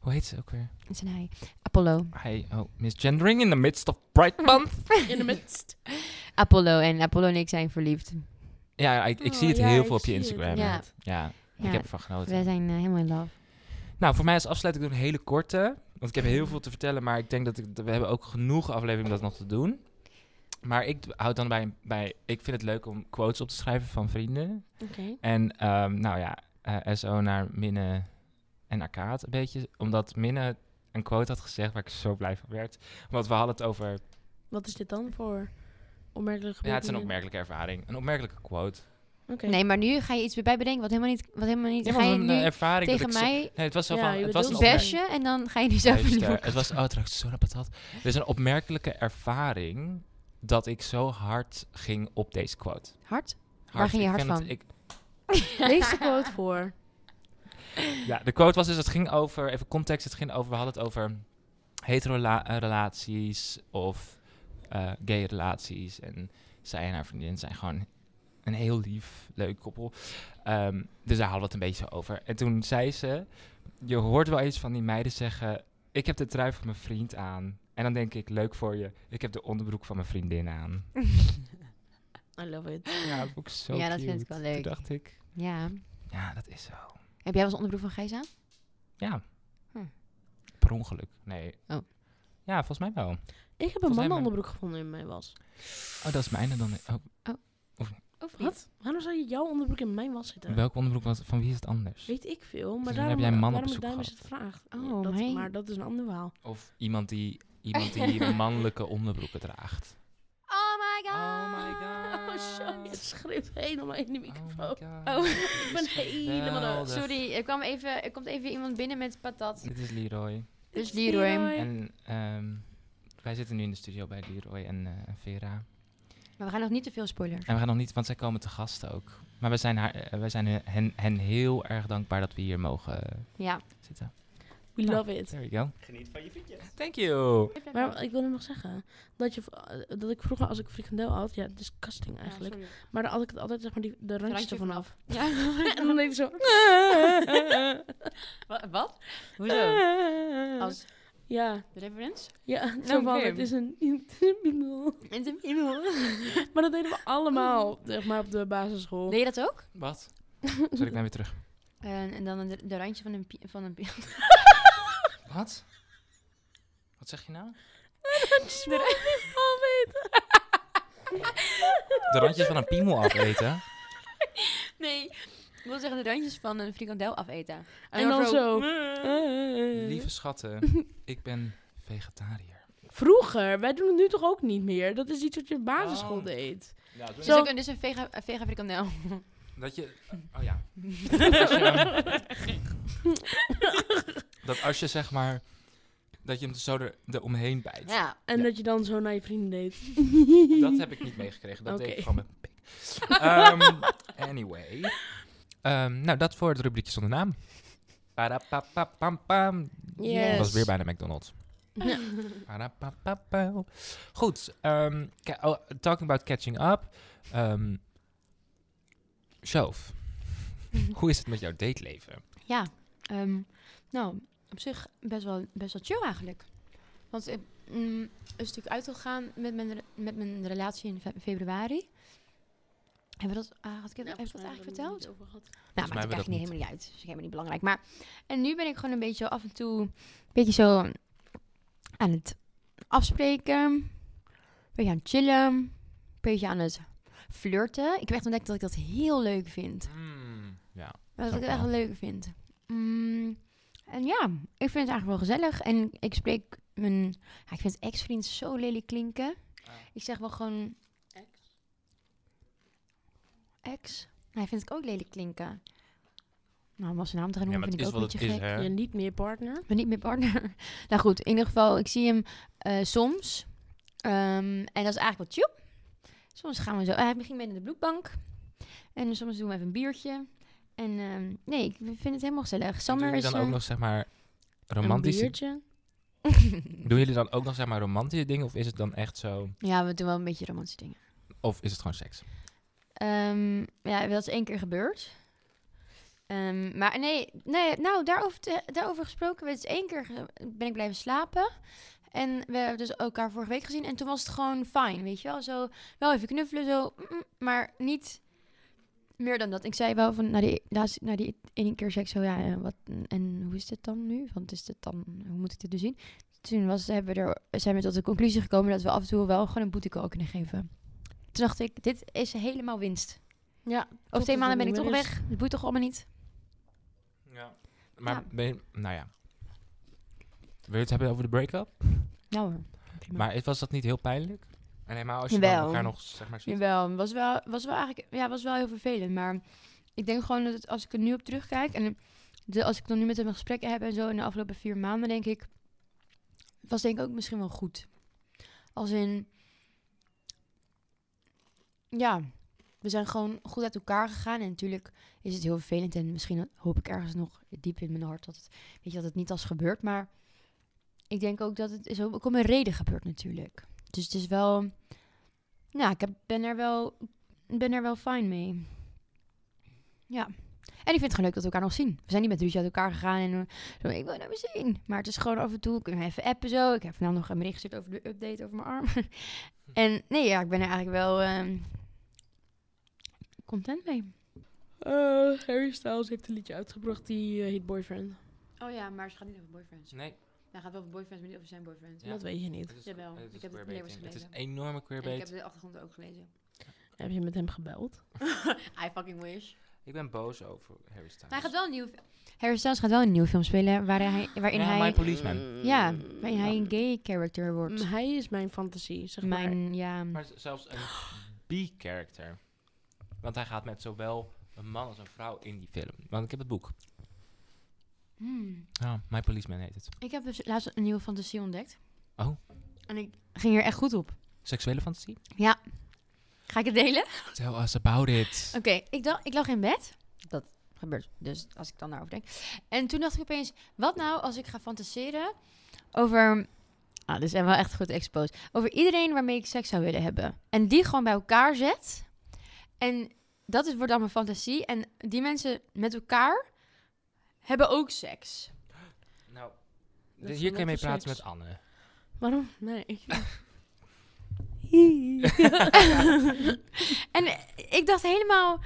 Hoe heet ze ook weer? Het is een hij. Apollo. Hi, oh, misgendering in the midst of Pride Month. In de midst. Apollo en Apollo en ik zijn verliefd. Ja, ik, ik Oh, zie het ja, heel ik veel op je zie het, Instagram. Ja, ja. ik heb ervan genoten. wij zijn eh, helemaal in love. Nou, voor mij als afsluiting doen een hele korte. Want ik heb heel veel te vertellen, maar ik denk dat ik, we hebben ook genoeg aflevering om dat nog te doen. Maar ik houd dan bij, bij... Ik vind het leuk om quotes op te schrijven van vrienden. Oké. En ehm, nou ja, eh, SO naar Minne en Arkaat een beetje. Omdat Minne een quote had gezegd waar ik zo blij van werd. Want we hadden het over... Wat is dit dan voor opmerkelijk Ja, het is een gebeurtenis? opmerkelijke ervaring. Een opmerkelijke quote. Oké. Nee, maar nu ga je iets weer bij bedenken wat helemaal niet... Wat helemaal niet Ja, ga maar je een eh, nu ervaring dat tegen ik zo- mij Nee, het was wel Ja, van... je Het was bedoelt een best opmerk- besje en dan ga je nu zelf een Luister, nieuwe het was oh, trouwens zo'n patat. Het is een opmerkelijke ervaring dat ik zo hard ging op deze quote. Hart? Hard, Waar ging je ik hard vind het- van? ik- Lees de quote voor. Ja, de quote was dus, het ging over, even context, het ging over, we hadden het over hetero-relaties of eh, gay relaties. En zij en haar vriendin zijn gewoon een heel lief, leuk koppel. Ehm, dus daar hadden we het een beetje zo over. En toen zei ze, je hoort wel eens van die meiden zeggen, ik heb de trui van mijn vriend aan. En dan denk ik, leuk voor je, ik heb de onderbroek van mijn vriendin aan. I love it. Ja, dat vond ik zo Ja, dat cute. vind ik wel leuk. Toen dacht ik, Ja. Ja, dat is zo. Heb jij wel eens onderbroek van Gijs aan? Ja. Hm. Per ongeluk. Nee. Oh. Ja, volgens mij wel. Ik heb een Volgens mij mannenonderbroek gevonden in mijn was. Oh, dat is mijne dan. Oh, Of niet? Wat? Waarom zou je jouw onderbroek in mijn was zitten? welk onderbroek was Van wie is het anders? Weet ik veel, maar dan daarom, heb jij een man op daarom bezoek daarom is het gehad. vraag. Oh, Ja, dat, mijn. maar dat is een ander verhaal. Of iemand die, iemand die mannelijke onderbroeken draagt. Oh my god. Oh my god. Oh, sorry. Het schreeuwt helemaal in de microfoon. Oh god. Oh, ik ben helemaal... Geweldig. sorry. Er, kwam even, er komt even iemand binnen met patat. Dit is Leroy. Dus Leroy. En ehm, wij zitten nu in de studio bij Leroy en eh, Vera. Maar we gaan nog niet te veel spoilers. En we gaan nog niet, want zij komen te gast ook. Maar we zijn, haar, eh, we zijn hen, hen heel erg dankbaar dat we hier mogen eh, Ja. zitten. We Nou, love it. There you go. Geniet van je frietjes. Thank you. Maar ik wilde nog zeggen dat, je, v- eh, dat ik vroeger als ik frikandel had, ja, disgusting eigenlijk. maar dan had ik het altijd zeg maar die, de randjes Randje ervan af. Ja. en dan deed ik zo. Wa- Wat? Als ja, reference? ja, Nou, zo van, oké. het is een, het is een piemel. In de hemel. Maar dat deden we allemaal, zeg maar, op de basisschool. Deed je dat ook? Eh, Wat? Sorry, ik ben weer terug. En, en dan de, de randje van een, pie- van een pie- Wat? Wat zeg je nou? De randjes van weten. De randjes van een piemel afeten. Nee, ik wil zeggen de randjes van een frikandel afeten. En dan zo. Mm. Lieve schatten, ik ben vegetariër. Vroeger, wij doen het nu toch ook niet meer? Dat is iets wat je op basisschool Oh. deed. Dus Zo. ook een, dus een vega, een vega frikandel. Dat je... Oh ja. Als je hem- dat als je zeg maar... Dat je hem zo er, eromheen bijt. Ja. En Ja. dat je dan zo naar je vrienden deed. Dat heb ik niet meegekregen. Dat deed Oké. ik gewoon met mijn pik. Ehm, anyway. Ehm, nou, dat voor het rubriekje zonder naam. Parapapapam. Yes. was weer bij de McDonald's. Parapapapau. Goed. ehm, ca- oh, talking about catching up. Ehm Sjoof, Hm. hoe is het met jouw dateleven? Ja, ehm, nou, op zich best wel, best wel chill eigenlijk. Want ik mm, is natuurlijk uitgegaan met mijn, re- met mijn relatie in fe- februari. Hebben we dat, ah, had ik, heb ik dat eigenlijk verteld? Nou, Volgens mij maakt het hebben we dat eigenlijk niet niet. helemaal niet uit. Dus ik helemaal niet belangrijk. Maar, en nu ben ik gewoon een beetje zo af en toe... Een beetje zo aan het afspreken. Een beetje aan het chillen. Een beetje aan het flirten. Ik heb echt ontdekt dat ik dat heel leuk vind. ja. Dat ik Snap het ik echt wel. wel leuk vind. Mm, en ja, ik vind het eigenlijk wel gezellig. En ik spreek mijn... ja, ik vind ex-vriend zo lelijk klinken. Ah. Ik zeg wel gewoon... Ex? Hij vindt het ook lelijk klinken. Nou, om als zijn naam te gaan ja, noemen maar het vind is ik wat ook een het beetje is, gek. hè? Je niet meer partner. Maar niet mijn partner. nou goed, in ieder geval, ik zie hem eh, soms. Ehm, en dat is eigenlijk wat chill. Soms gaan we zo... eh, Hij ging mee naar de bloedbank. En soms doen we even een biertje. En ehm, nee, ik vind het helemaal gezellig. Doen Summer jullie is... dan eh, ook nog, zeg maar, Een romantische... biertje. Doen jullie dan ook nog, zeg maar, romantische dingen? Of is het dan echt zo... Ja, we doen wel een beetje romantische dingen. Of is het gewoon seks? Ehm, ja, dat is één keer gebeurd. Ehm, maar nee, nee nou, daarover, te- daarover gesproken. Het is één keer ge- ben ik blijven slapen. En we hebben dus elkaar vorige week gezien. En toen was het gewoon fijn, weet je wel. Zo, wel even knuffelen, zo. mm, mm, Maar niet meer dan dat. Ik zei wel van, na die, laatste- na die ene keer zei ik zo, ja, eh, wat, en hoe is dit dan nu? Want is dit dan, hoe moet ik dit dus zien? Toen was, hebben we er, zijn we tot de conclusie gekomen dat we af en toe wel gewoon een booty call kunnen geven. Toen dacht ik, dit is helemaal winst. Ja. Over twee dat maanden het ben ik niet toch meer is. weg. Het boeit toch allemaal niet? Ja. Maar Ja. ben je... Nou ja. Wil je het hebben over de break-up? Nou hoor. Prima. Maar is- was dat niet heel pijnlijk? En helemaal als je Jawel. dan elkaar nog, zeg maar, ziet. Jawel, het was wel, was wel eigenlijk ja, het was wel heel vervelend. Maar ik denk gewoon dat het, als ik er nu op terugkijk en de, als ik dan nu met hem gesprekken heb en zo in de afgelopen vier maanden, denk ik, was denk ik ook misschien wel goed. Als in, ja, we zijn gewoon goed uit elkaar gegaan en natuurlijk is het heel vervelend en misschien hoop ik ergens nog diep in mijn hart dat het, weet je, dat het niet als gebeurt, maar ik denk ook dat het is ook om een reden gebeurt natuurlijk. Dus het is wel, nou, ik heb, ben er wel, ben er wel fijn mee. Ja. En ik vind het gewoon leuk dat we elkaar nog zien. We zijn niet met ruzie uit elkaar gegaan en eh, zo, ik wil naar me zien. Maar het is gewoon af en toe, kunnen we even appen zo. Ik heb vandaag nog een bericht gestuurd over de update over mijn arm. en nee, ja, ik ben er eigenlijk wel ehm, content mee. Eh, Harry Styles heeft een liedje uitgebracht die eh, heet Boyfriend. Oh ja, maar ze gaat niet over boyfriends. Nee, Hij gaat wel over boyfriends, maar niet over zijn boyfriends. Ja. Dat weet je niet. het is, Jawel, het is ik heb het queerbaiting. leeuwers Het is gelezen. enorme En ik queerbait. heb de achtergrond ook gelezen. Heb je met hem gebeld? I fucking wish. Ik ben boos over Harry Styles. Maar hij gaat wel een nieuwe... Harry Styles gaat wel een nieuwe film spelen waarin hij... Waarin Ja, My hij Policeman. ja, waarin hij een gay character wordt. Mm, Hij is mijn fantasie, zeg maar. Mijn, ja... Maar z- zelfs een B-character. Want hij gaat met zowel een man als een vrouw in die film. Want ik heb het boek. Hmm. Ja, My Policeman heet het. Ik heb dus laatst een nieuwe fantasie ontdekt. Oh. En ik ging er echt goed op. Seksuele fantasie? Ga ik het delen? Tell us about it. Oké, ik, dacht- ik lag in bed. Dat gebeurt dus als ik dan naar denk. En toen dacht ik opeens, wat nou als ik ga fantaseren over... Ah, dit is wel echt goed exposed. Over iedereen waarmee ik seks zou willen hebben. En die gewoon bij elkaar zet. En dat is, wordt dan mijn fantasie. En die mensen met elkaar hebben ook seks. Nou, Dat is hier kun je mee lekker praten seks. met Anne. Waarom? Nee. En ik dacht helemaal,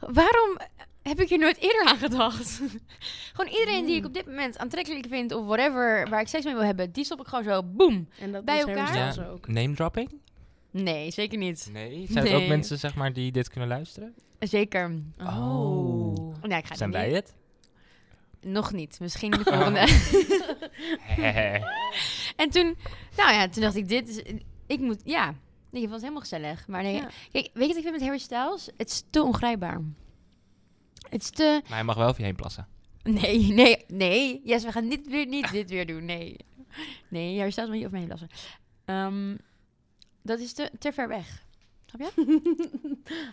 waarom heb ik hier nooit eerder aan gedacht? gewoon iedereen die ik op dit moment aantrekkelijk vind of whatever, waar ik seks mee wil hebben, die stop ik gewoon zo, boem. en dat Bij is Harry elkaar? Styles ook. Name dropping? Nee, zeker niet. Nee. Zijn er Nee. ook mensen zeg maar, die dit kunnen luisteren? Zeker. Oh, Oh. Ja, ik ga het Zijn niet. wij Oh. het? Nog niet. Misschien de volgende. en toen, nou ja, toen dacht ik, dit is, ik moet, ja. Nee, je vond het helemaal gezellig. Maar nee, Ja. kijk, weet je wat ik vind met Harry Styles? Het is te ongrijpbaar. Het is te, maar hij mag wel over je heen plassen. Nee, nee, nee. Yes, we gaan dit weer niet dit weer doen. Nee. Nee, jij staat maar niet over mij heen lassen. Ehm, dat is te, te ver weg. Snap je?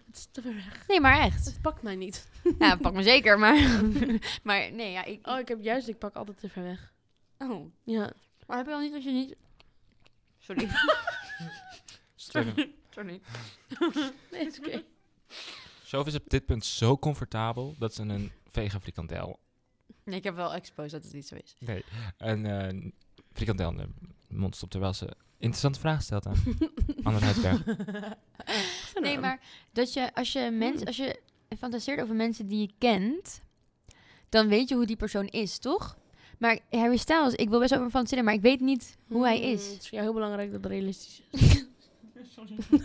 Het is te ver weg. Nee, maar echt. Het pakt mij niet. Nou, pak me zeker, maar... maar nee, ja, ik... Oh, ik heb juist, ik pak altijd te ver weg. oh. Ja. Maar heb je al niet als je niet... Sorry. Sorry. Nee, is oké. Sof is op dit punt zo comfortabel dat ze een vegan frikandel... Nee, ik heb wel exposed dat het niet zo is. Nee, een eh, frikandel in de mond stopt terwijl ze interessante vraag stelt aan Anne Huidberg. Nee, maar dat je, als, je mens, als je fantaseert over mensen die je kent, dan weet je hoe die persoon is, toch? Maar Harry Styles, ik wil best over hem fantaseren, maar ik weet niet hoe hij Mm, is. Het is voor jou heel belangrijk dat het realistisch is.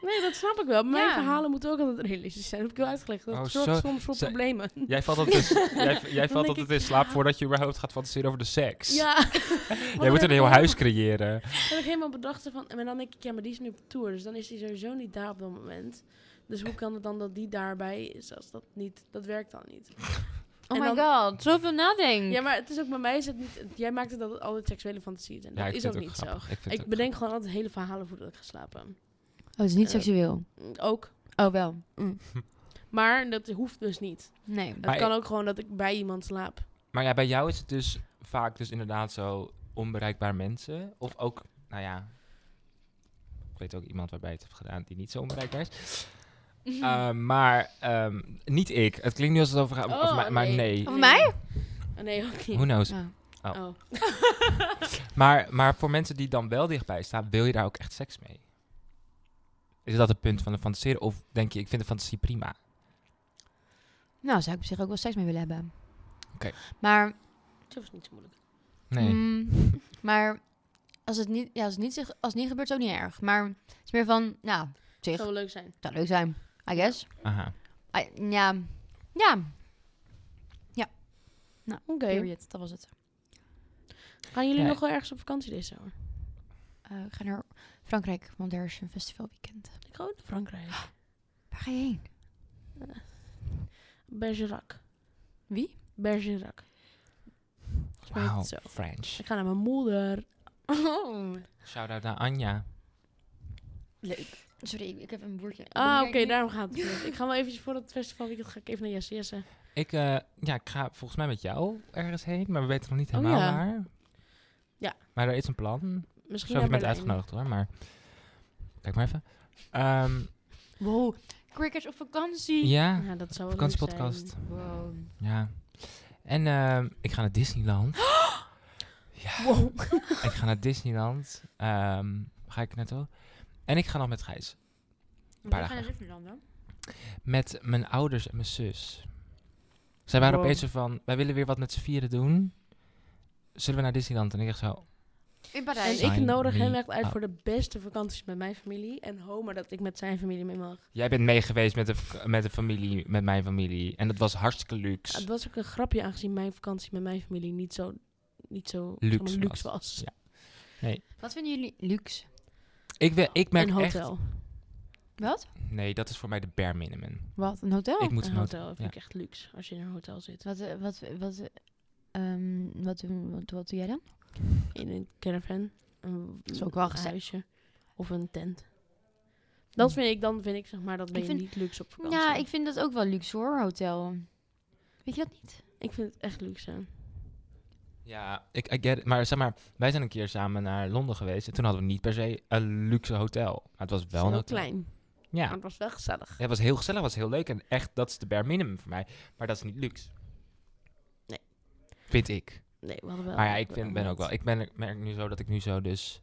nee, dat snap ik wel. Mijn Ja. verhalen moeten ook altijd realistisch zijn. Dat heb ik wel uitgelegd. Dat Oh, zorgt zo- soms voor zij- problemen. Jij valt altijd, jij, jij Dan valt denk altijd in slaap voordat je überhaupt gaat fantaseren over de seks. Ja. Jij moet een heel huis creëren. Dat heb ik helemaal bedacht. zo Van, en dan denk ik, ja, maar die is nu op tour. Dus dan is hij sowieso niet daar op dat moment. Dus hoe kan het dan dat die daarbij is als dat niet... Dat werkt dan niet. Hm. Oh En my dan- god, zoveel nadenken. Ja, maar het is ook bij mij is het niet... Jij maakt het dat het altijd seksuele fantasieën zijn. Ja, dat ik is vind ook het niet grappig. Ik, zo. vind het Ik ook bedenk gewoon altijd hele verhalen voordat ik ga slapen. Oh, het is niet Eh, seksueel. Ook. Oh, wel. Maar dat hoeft dus niet. Nee. Het Maar- kan ook gewoon dat ik bij iemand slaap. Maar ja, bij jou is het dus vaak dus inderdaad zo onbereikbaar mensen. Of ook, nou ja... Ik weet ook iemand waarbij je het hebt gedaan die niet zo onbereikbaar is. Eh, maar ehm, niet ik. Het klinkt nu als het over gaat, Oh, over mij- maar nee. nee. Over mij? Oh, nee, ook Who niet. knows? Oh. Oh. Oh. Maar, maar voor mensen die dan wel dichtbij staan, wil je daar ook echt seks mee? Is dat het punt van de fantaseren? Of denk je, ik vind de fantasie prima? Nou, zou ik op zich ook wel seks mee willen hebben. Oké. Maar, Het is niet zo moeilijk. Nee. mm, maar als het niet, ja, als het niet, zich- als het niet gebeurt, is het ook niet erg. Maar het is meer van, nou, Het Zich. zou wel leuk zijn. zou leuk zijn. I guess. Aha. I- ja. Ja. Oké. Period. Dat was het. Gaan jullie Ja. nog wel ergens op vakantie deze zomer? Eh, ik ga naar Frankrijk, want er is een festivalweekend. Ik ga ook naar Frankrijk. Waar ga je heen? Bergerac. Wie? Bergerac. Volgens mij heet Wauw, het zo. French. Ik ga naar mijn moeder. Oh. Shout-out naar Anja. Leuk. Sorry, ik, ik heb een boertje. Ah, oké, daar. daarom gaat het. niet. Ik ga wel eventjes voor het festivalweekend ga ik even naar Jesse Jesse. Ik, eh, ja, ik ga volgens mij met jou ergens heen, maar we weten nog niet Oh, helemaal ja. waar. Ja. Maar er is een plan. Misschien Zo, je naar bent Berlijn. uitgenodigd hoor, maar... Kijk maar even. Ehm, Wow. Crickets op vakantie. ja, Ja, dat zou wel leuk zijn. vakantiepodcast. Wow. Ja. En ehm, ik ga naar Disneyland. Ja. ik ga naar Disneyland. Ehm, ga ik naartoe? En ik ga nog met Gijs. Maar dagen we gaan naar Disneyland, hè? met mijn ouders en mijn zus. Zij waren Wow. opeens zo van, wij willen weer wat met z'n vieren doen. Zullen we naar Disneyland? En ik dacht zo, In En Parijs. Zijn ik nodig hem niet echt uit oud. voor de beste vakanties met mijn familie. En Homer dat ik met zijn familie mee mag. jij bent meegeweest met de, v- met de familie, met mijn familie. En dat was hartstikke luxe. Het was ook een grapje aangezien mijn vakantie met mijn familie niet zo, niet zo Luxe zeg maar, luxe was. was. Ja. Wat vinden jullie luxe? Ik, we- ik merk een hotel. Wat? echt, nee, dat is voor mij de bare minimum. Wat? Een hotel? Ik moet Oh, Een een hotel. hotel vind ik echt luxe als je in een hotel zit. Wat, eh, wat, wat, eh, ehm, wat, doen- wat, wat doe jij dan? In een caravan. Een is ook wel gezellig. huisje. Of een tent. Dat vind ik, dan vind Mm. ik zeg maar, dat ben Ik je vind- niet luxe op vakantie. Ja, ik vind dat ook wel luxe hoor, hotel. Weet je dat niet? Ik vind het echt luxe. Ja, ik I get it. Maar zeg maar, wij zijn een keer samen naar Londen geweest. En toen hadden we niet per se een luxe hotel. Maar het was wel een heel hotel. klein. Ja. Maar het was wel gezellig. Ja, het was heel gezellig, het was heel leuk. En echt, dat is de bare minimum voor mij. Maar dat is niet luxe. Nee. Vind ik. Nee, we hadden wel. maar ja, Oh, ik we vind, hadden ben ook wel... Ik ben, merk nu zo dat ik nu zo dus...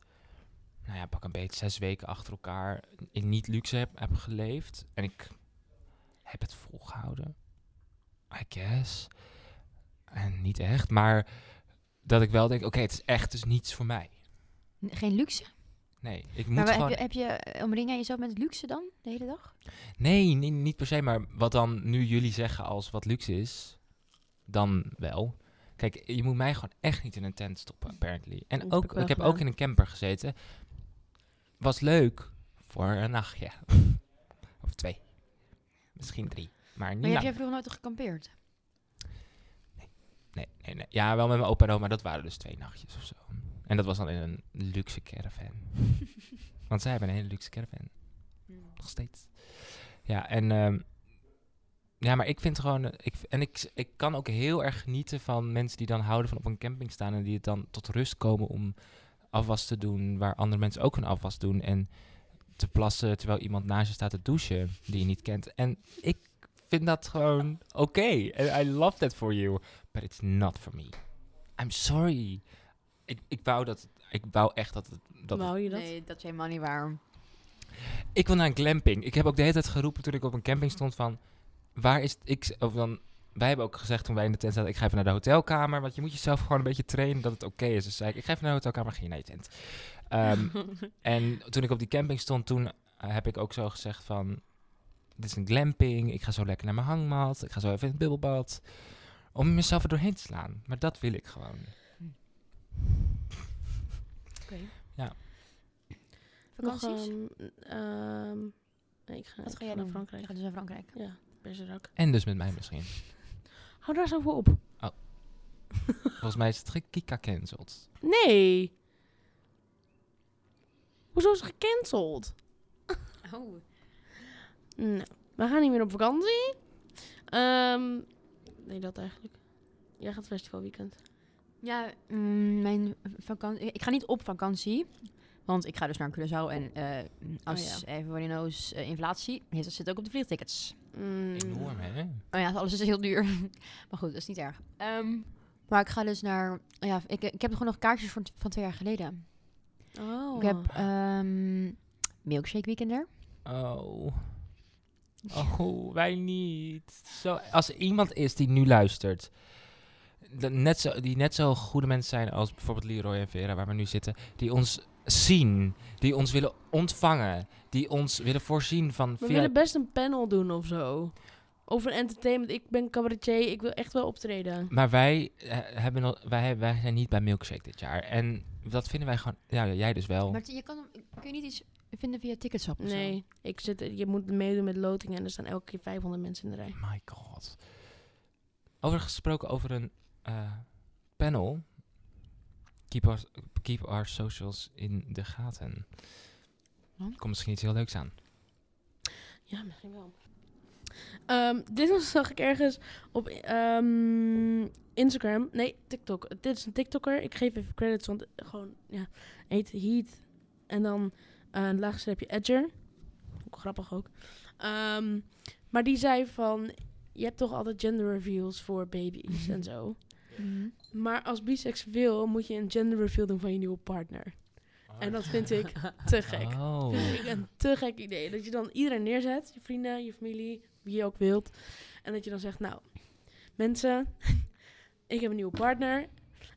Nou ja, pak een beetje zes weken achter elkaar in niet luxe heb, heb geleefd. En ik heb het volgehouden. I guess. En niet echt, maar dat ik wel denk... Oké, het is echt dus niets voor mij. N- Geen luxe? Nee, ik Nou, maar moet wa- gewoon... heb je, heb je eh, omring jij jezelf met luxe dan de hele dag? Nee, nee, niet per se. Maar wat dan nu jullie zeggen als wat luxe is, dan wel. Kijk, je moet mij gewoon echt niet in een tent stoppen, apparently. En Dat ook, heb ik wel ik heb gedaan. ook in een camper gezeten. Was leuk voor een nachtje. of twee. Misschien drie. Maar niet Maar heb lang. jij vroeger nooit gekampeerd? Nee, nee, nee. Ja, wel met mijn opa en oma. Dat waren dus twee nachtjes of zo. En dat was dan in een luxe caravan. Want zij hebben een hele luxe caravan. Nog steeds. Ja, en... ehm, ja, maar ik vind gewoon... eh, Ik, en ik, ik kan ook heel erg genieten van mensen die dan houden van op een camping staan... en die het dan tot rust komen om afwas te doen... waar andere mensen ook hun afwas doen. En te plassen terwijl iemand naast je staat te douchen die je niet kent. En ik vind dat gewoon oké. En I love that for you. But it's not for me. I'm sorry. Ik, ik wou dat... Ik wou echt dat het... Dat het- Wou je dat? Nee, dat is helemaal niet waar. ik wil naar een glamping. Ik heb ook de hele tijd geroepen toen ik op een camping stond van... Waar is... Ik, of dan, wij hebben ook gezegd toen wij in de tent zaten... Ik ga even naar de hotelkamer. Want je moet jezelf gewoon een beetje trainen dat het oké is. Dus zei ik, ik ga even naar de hotelkamer. Ging je naar je tent. Ehm, en toen ik op die camping stond, toen eh, heb ik ook zo gezegd van... Dit is een glamping. Ik ga zo lekker naar mijn hangmat. Ik ga zo even in het bubbelbad. Om mezelf er doorheen te slaan. Maar dat wil ik gewoon. Oké. Ja. Nog, Vakanties? ehm, ehm, nee, ik ga, Wat ik ga jij naar doen? Frankrijk. Je gaat dus naar Frankrijk. Ja, Bergerac. En dus met mij misschien. Hou daar zo voor op. Volgens mij is het gekika cancelled. Nee. Hoezo is het gecanceld? Oh. Nou, we gaan niet meer op vakantie. Ehm, nee, dat eigenlijk. Jij gaat festivalweekend. Ja, mm, mijn vakantie. Ik ga niet op vakantie. Want ik ga dus naar Curaçao. En eh, Oh als everybody knows, eh, inflatie heeft, dat zit ook op de vliegtickets. Mm. Enorm, hè? Oh ja, alles is heel duur. maar goed, dat is niet erg. Ehm, maar ik ga dus naar... Ja, ik, ik heb gewoon nog kaartjes van, van twee jaar geleden. Oh. Ik heb ehm, Milkshake Weekend er. Oh. Oh, wij niet. Zo, als er iemand is die nu luistert, dat net zo, die net zo goede mensen zijn als bijvoorbeeld Leroy en Vera, waar we nu zitten, die ons zien, die ons willen ontvangen, die ons willen voorzien van We via- willen best een panel doen of zo. Over entertainment. Ik ben cabaretier. Ik wil echt wel optreden. Maar wij, eh, hebben al, wij, wij zijn niet bij Milkshake dit jaar. En dat vinden wij gewoon... Ja, jij dus wel. Maar je kan, kun je niet iets vinden via Ticketswap of zo? Oh. Nee, ik zit, je moet meedoen met lotingen en er staan elke keer 500 mensen in de rij. My god. Over gesproken over een eh, panel. Keep our, keep our socials in de gaten. Want? Komt misschien iets heel leuks aan. Ja, misschien wel. Ehm, dit was, zag ik ergens op ehm, Instagram. Nee, TikTok. Dit is een TikToker. Ik geef even credits, want eh, gewoon, ja, heet Heat. En dan eh, een laag streepje Edger. Ook grappig ook. Ehm, maar die zei van, je hebt toch altijd gender reveals voor baby's en zo. Mhm. Maar als biseksueel moet je een gender reveal doen van je nieuwe partner. En dat vind ik te gek. Oh. Vind ik een te gek idee. Dat je dan iedereen neerzet, je vrienden, je familie, wie je ook wilt. En dat je dan zegt, nou, mensen, ik heb een nieuwe partner.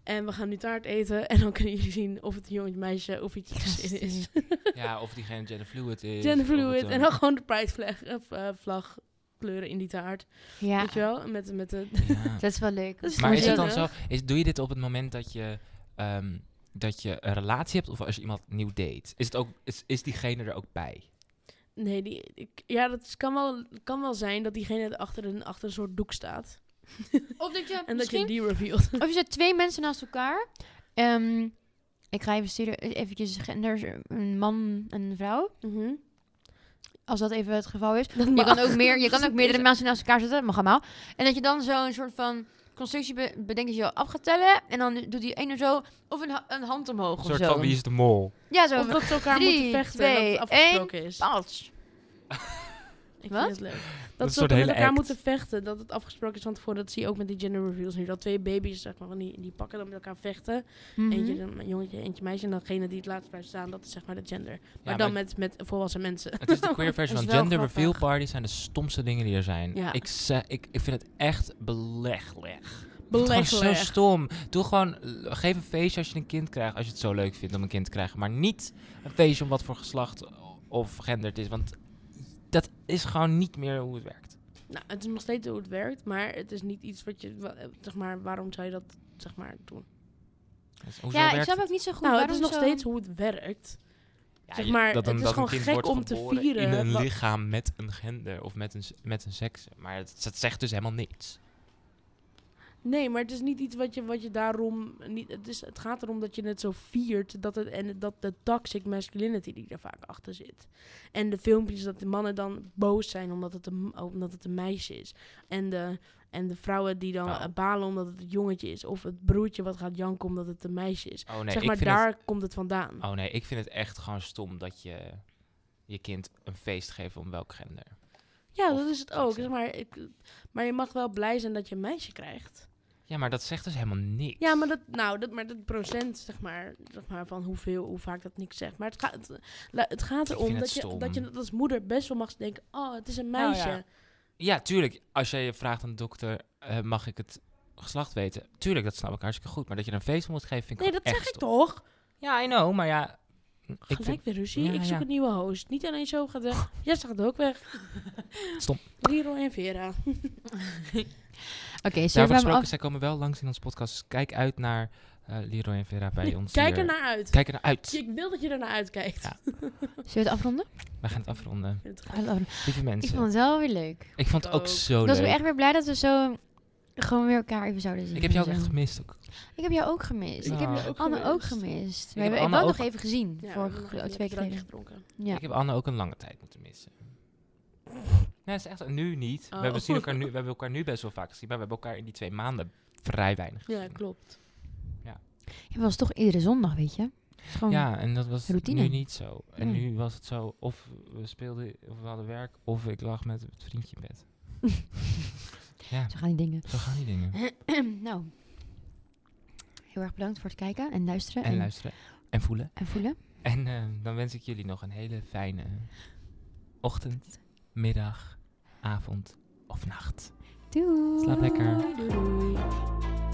En we gaan nu taart eten. En dan kunnen jullie zien of het een jongetje, meisje of iets gezin is. Ja, of diegene genderfluid is. Genderfluid. En dan gewoon de pridevlag of, eh, vlag kleuren in die taart. Ja, Weet je wel? Met, met de... dat is wel leuk. Dat is Maar is het dan Gezellig. zo, is, doe je dit op het moment dat je, ehm, dat je een relatie hebt of als je iemand nieuw date? Is, het ook, is, is diegene er ook bij? Nee, die, ik, ja, dat is- kan wel, kan wel zijn dat diegene achter een, achter een soort doek staat. Of dat je En misschien... dat je die revealt. Of je zet twee mensen naast elkaar. Ehm, ik ga even sturen, eventjes gender, een man en een vrouw. Als Mhm. dat even het geval is. Je kan ook, meer, je kan ook meerdere mensen naast elkaar zetten, dat mag allemaal. En dat je dan zo'n soort van constructie be- bedenkt dat je af gaat tellen. En dan doet die ene zo, of een, ha- een hand omhoog Een of soort zo. van wie is de mol? Ja, zo. Of dat ze elkaar Drie, moeten vechten en twee, dat het afgesproken is. Pas. Ik Wat? vind het leuk. Dat Dat is ze een soort met hele elkaar act. moeten vechten. Dat het afgesproken is van tevoren. Dat zie je ook met die gender reveals nu. Dat twee baby's, zeg maar, van die, die pakken dan met elkaar vechten. Mhm. Eentje een jongetje, eentje meisje. En dangene die het laatst blijft staan, dat is zeg maar de gender. Maar maar dan met, met volwassen mensen. Het is de queer versie Dat van is wel gender grappig. reveal parties zijn de stomste dingen die er zijn. Ja. Ik, ze- ik, ik vind het echt belegleg. Het is gewoon zo Beleggeleg. stom. Doe gewoon, l- geef een feestje als je een kind krijgt, als je het zo leuk vindt om een kind te krijgen. Maar niet een feestje om wat voor geslacht of gender het is, want dat is gewoon niet meer hoe het werkt. Nou, het is nog steeds hoe het werkt. Maar het is niet iets wat je... wa- eh, Zeg maar, waarom zou je dat zeg maar doen? Dus hoezo Ja, ik werkt snap het? ook niet zo goed nou, het waarom is nog zo- steeds hoe het werkt. Ja, zeg je- maar, dat een, het is dat een gewoon kind gek wordt om te geboren in vieren, een wat- lichaam met een gender of met een, s- met een seks. Maar het, dat zegt dus helemaal niks. Nee, maar het is niet iets wat je, wat je daarom. Niet, het, is, het gaat erom dat je het zo viert. Dat het, en dat de toxic masculinity die er vaak achter zit. En de filmpjes dat de mannen dan boos zijn omdat het een, omdat het een meisje is. En de, en de vrouwen die dan Oh. eh, balen omdat het een jongetje is. Of het broertje wat gaat janken omdat het een meisje is. Oh nee, zeg ik maar, vind daar het, komt het vandaan. oh nee, ik vind het echt gewoon stom dat je je kind een feest geeft om welk gender. Ja, Of dat is het zou ik ook. Zeg zeggen. maar, ik, maar je mag wel blij zijn dat je een meisje krijgt. Ja, maar dat zegt dus helemaal niks. Ja, maar dat, nou, dat, maar dat procent, zeg maar, zeg maar, van hoeveel, hoe vaak dat niks zegt. Maar het gaat, het, la- het gaat Ik erom vind dat, het je, stom. dat je dat als moeder best wel mag denken, oh, het is een Nou meisje. ja. Ja, tuurlijk. Als jij je vraagt aan de dokter, eh, mag ik het geslacht weten? Tuurlijk, dat snap ik hartstikke goed. Maar dat je er een feest om moet geven, vind ik Nee, dat gewoon zeg echt ik stom. toch? Ja, I know, maar ja... Ik Gelijk vind, weer ruzie. Ja, ik zoek ja. een nieuwe host. Niet alleen zo gaat weg. Jess gaat ook weg. Stom. Liro en Vera. Oké, zo daarvoor gaan we gesproken, af. zij komen wel langs in onze podcast. Dus kijk uit naar eh, Leroy en Vera bij ons Kijk hier. er naar uit. Kijk er naar uit. Ik wil dat je er naar uitkijkt. Ja. Zullen we het afronden? We gaan het afronden. Ik vind het- Hallo. Lieve Ik mensen, vond het wel weer leuk. het ook ook. zo Ik Oh, leuk. was weer echt weer blij dat we zo gewoon weer elkaar even zouden zien. Ik heb jou en ook zo. echt gemist. Ook. Ik heb jou ook gemist. Ik Ik heb heb je ook Anne ook gemist. gemist. We heb hebben Anne Anne nog ook- even gezien. Ja, we vorige, hebben nog even twee een keer drankje geleden. gedronken. Ja. Ik heb Anne ook een lange tijd moeten missen. Nee, dat is echt nu niet. We, Oh. hebben zien elkaar nu, we hebben elkaar nu best wel vaak gezien, maar we hebben elkaar in die twee maanden vrij weinig gezien. Ja, klopt. Ja, maar dat was toch iedere zondag, weet je? Het is Gewoon, Ja, en dat was Oh. Routine. nu niet zo. En Nee. nu was het zo, of we speelden, of we hadden werk, of ik lag met het vriendje in bed. ja, Zo gaan die dingen. zo gaan die dingen. nou, heel erg bedankt voor het kijken en luisteren en, En luisteren. En voelen. en voelen. En eh, dan wens ik jullie nog een hele fijne ochtend, middag, avond of nacht. Doei! Slaap lekker. Doei, doei. doei.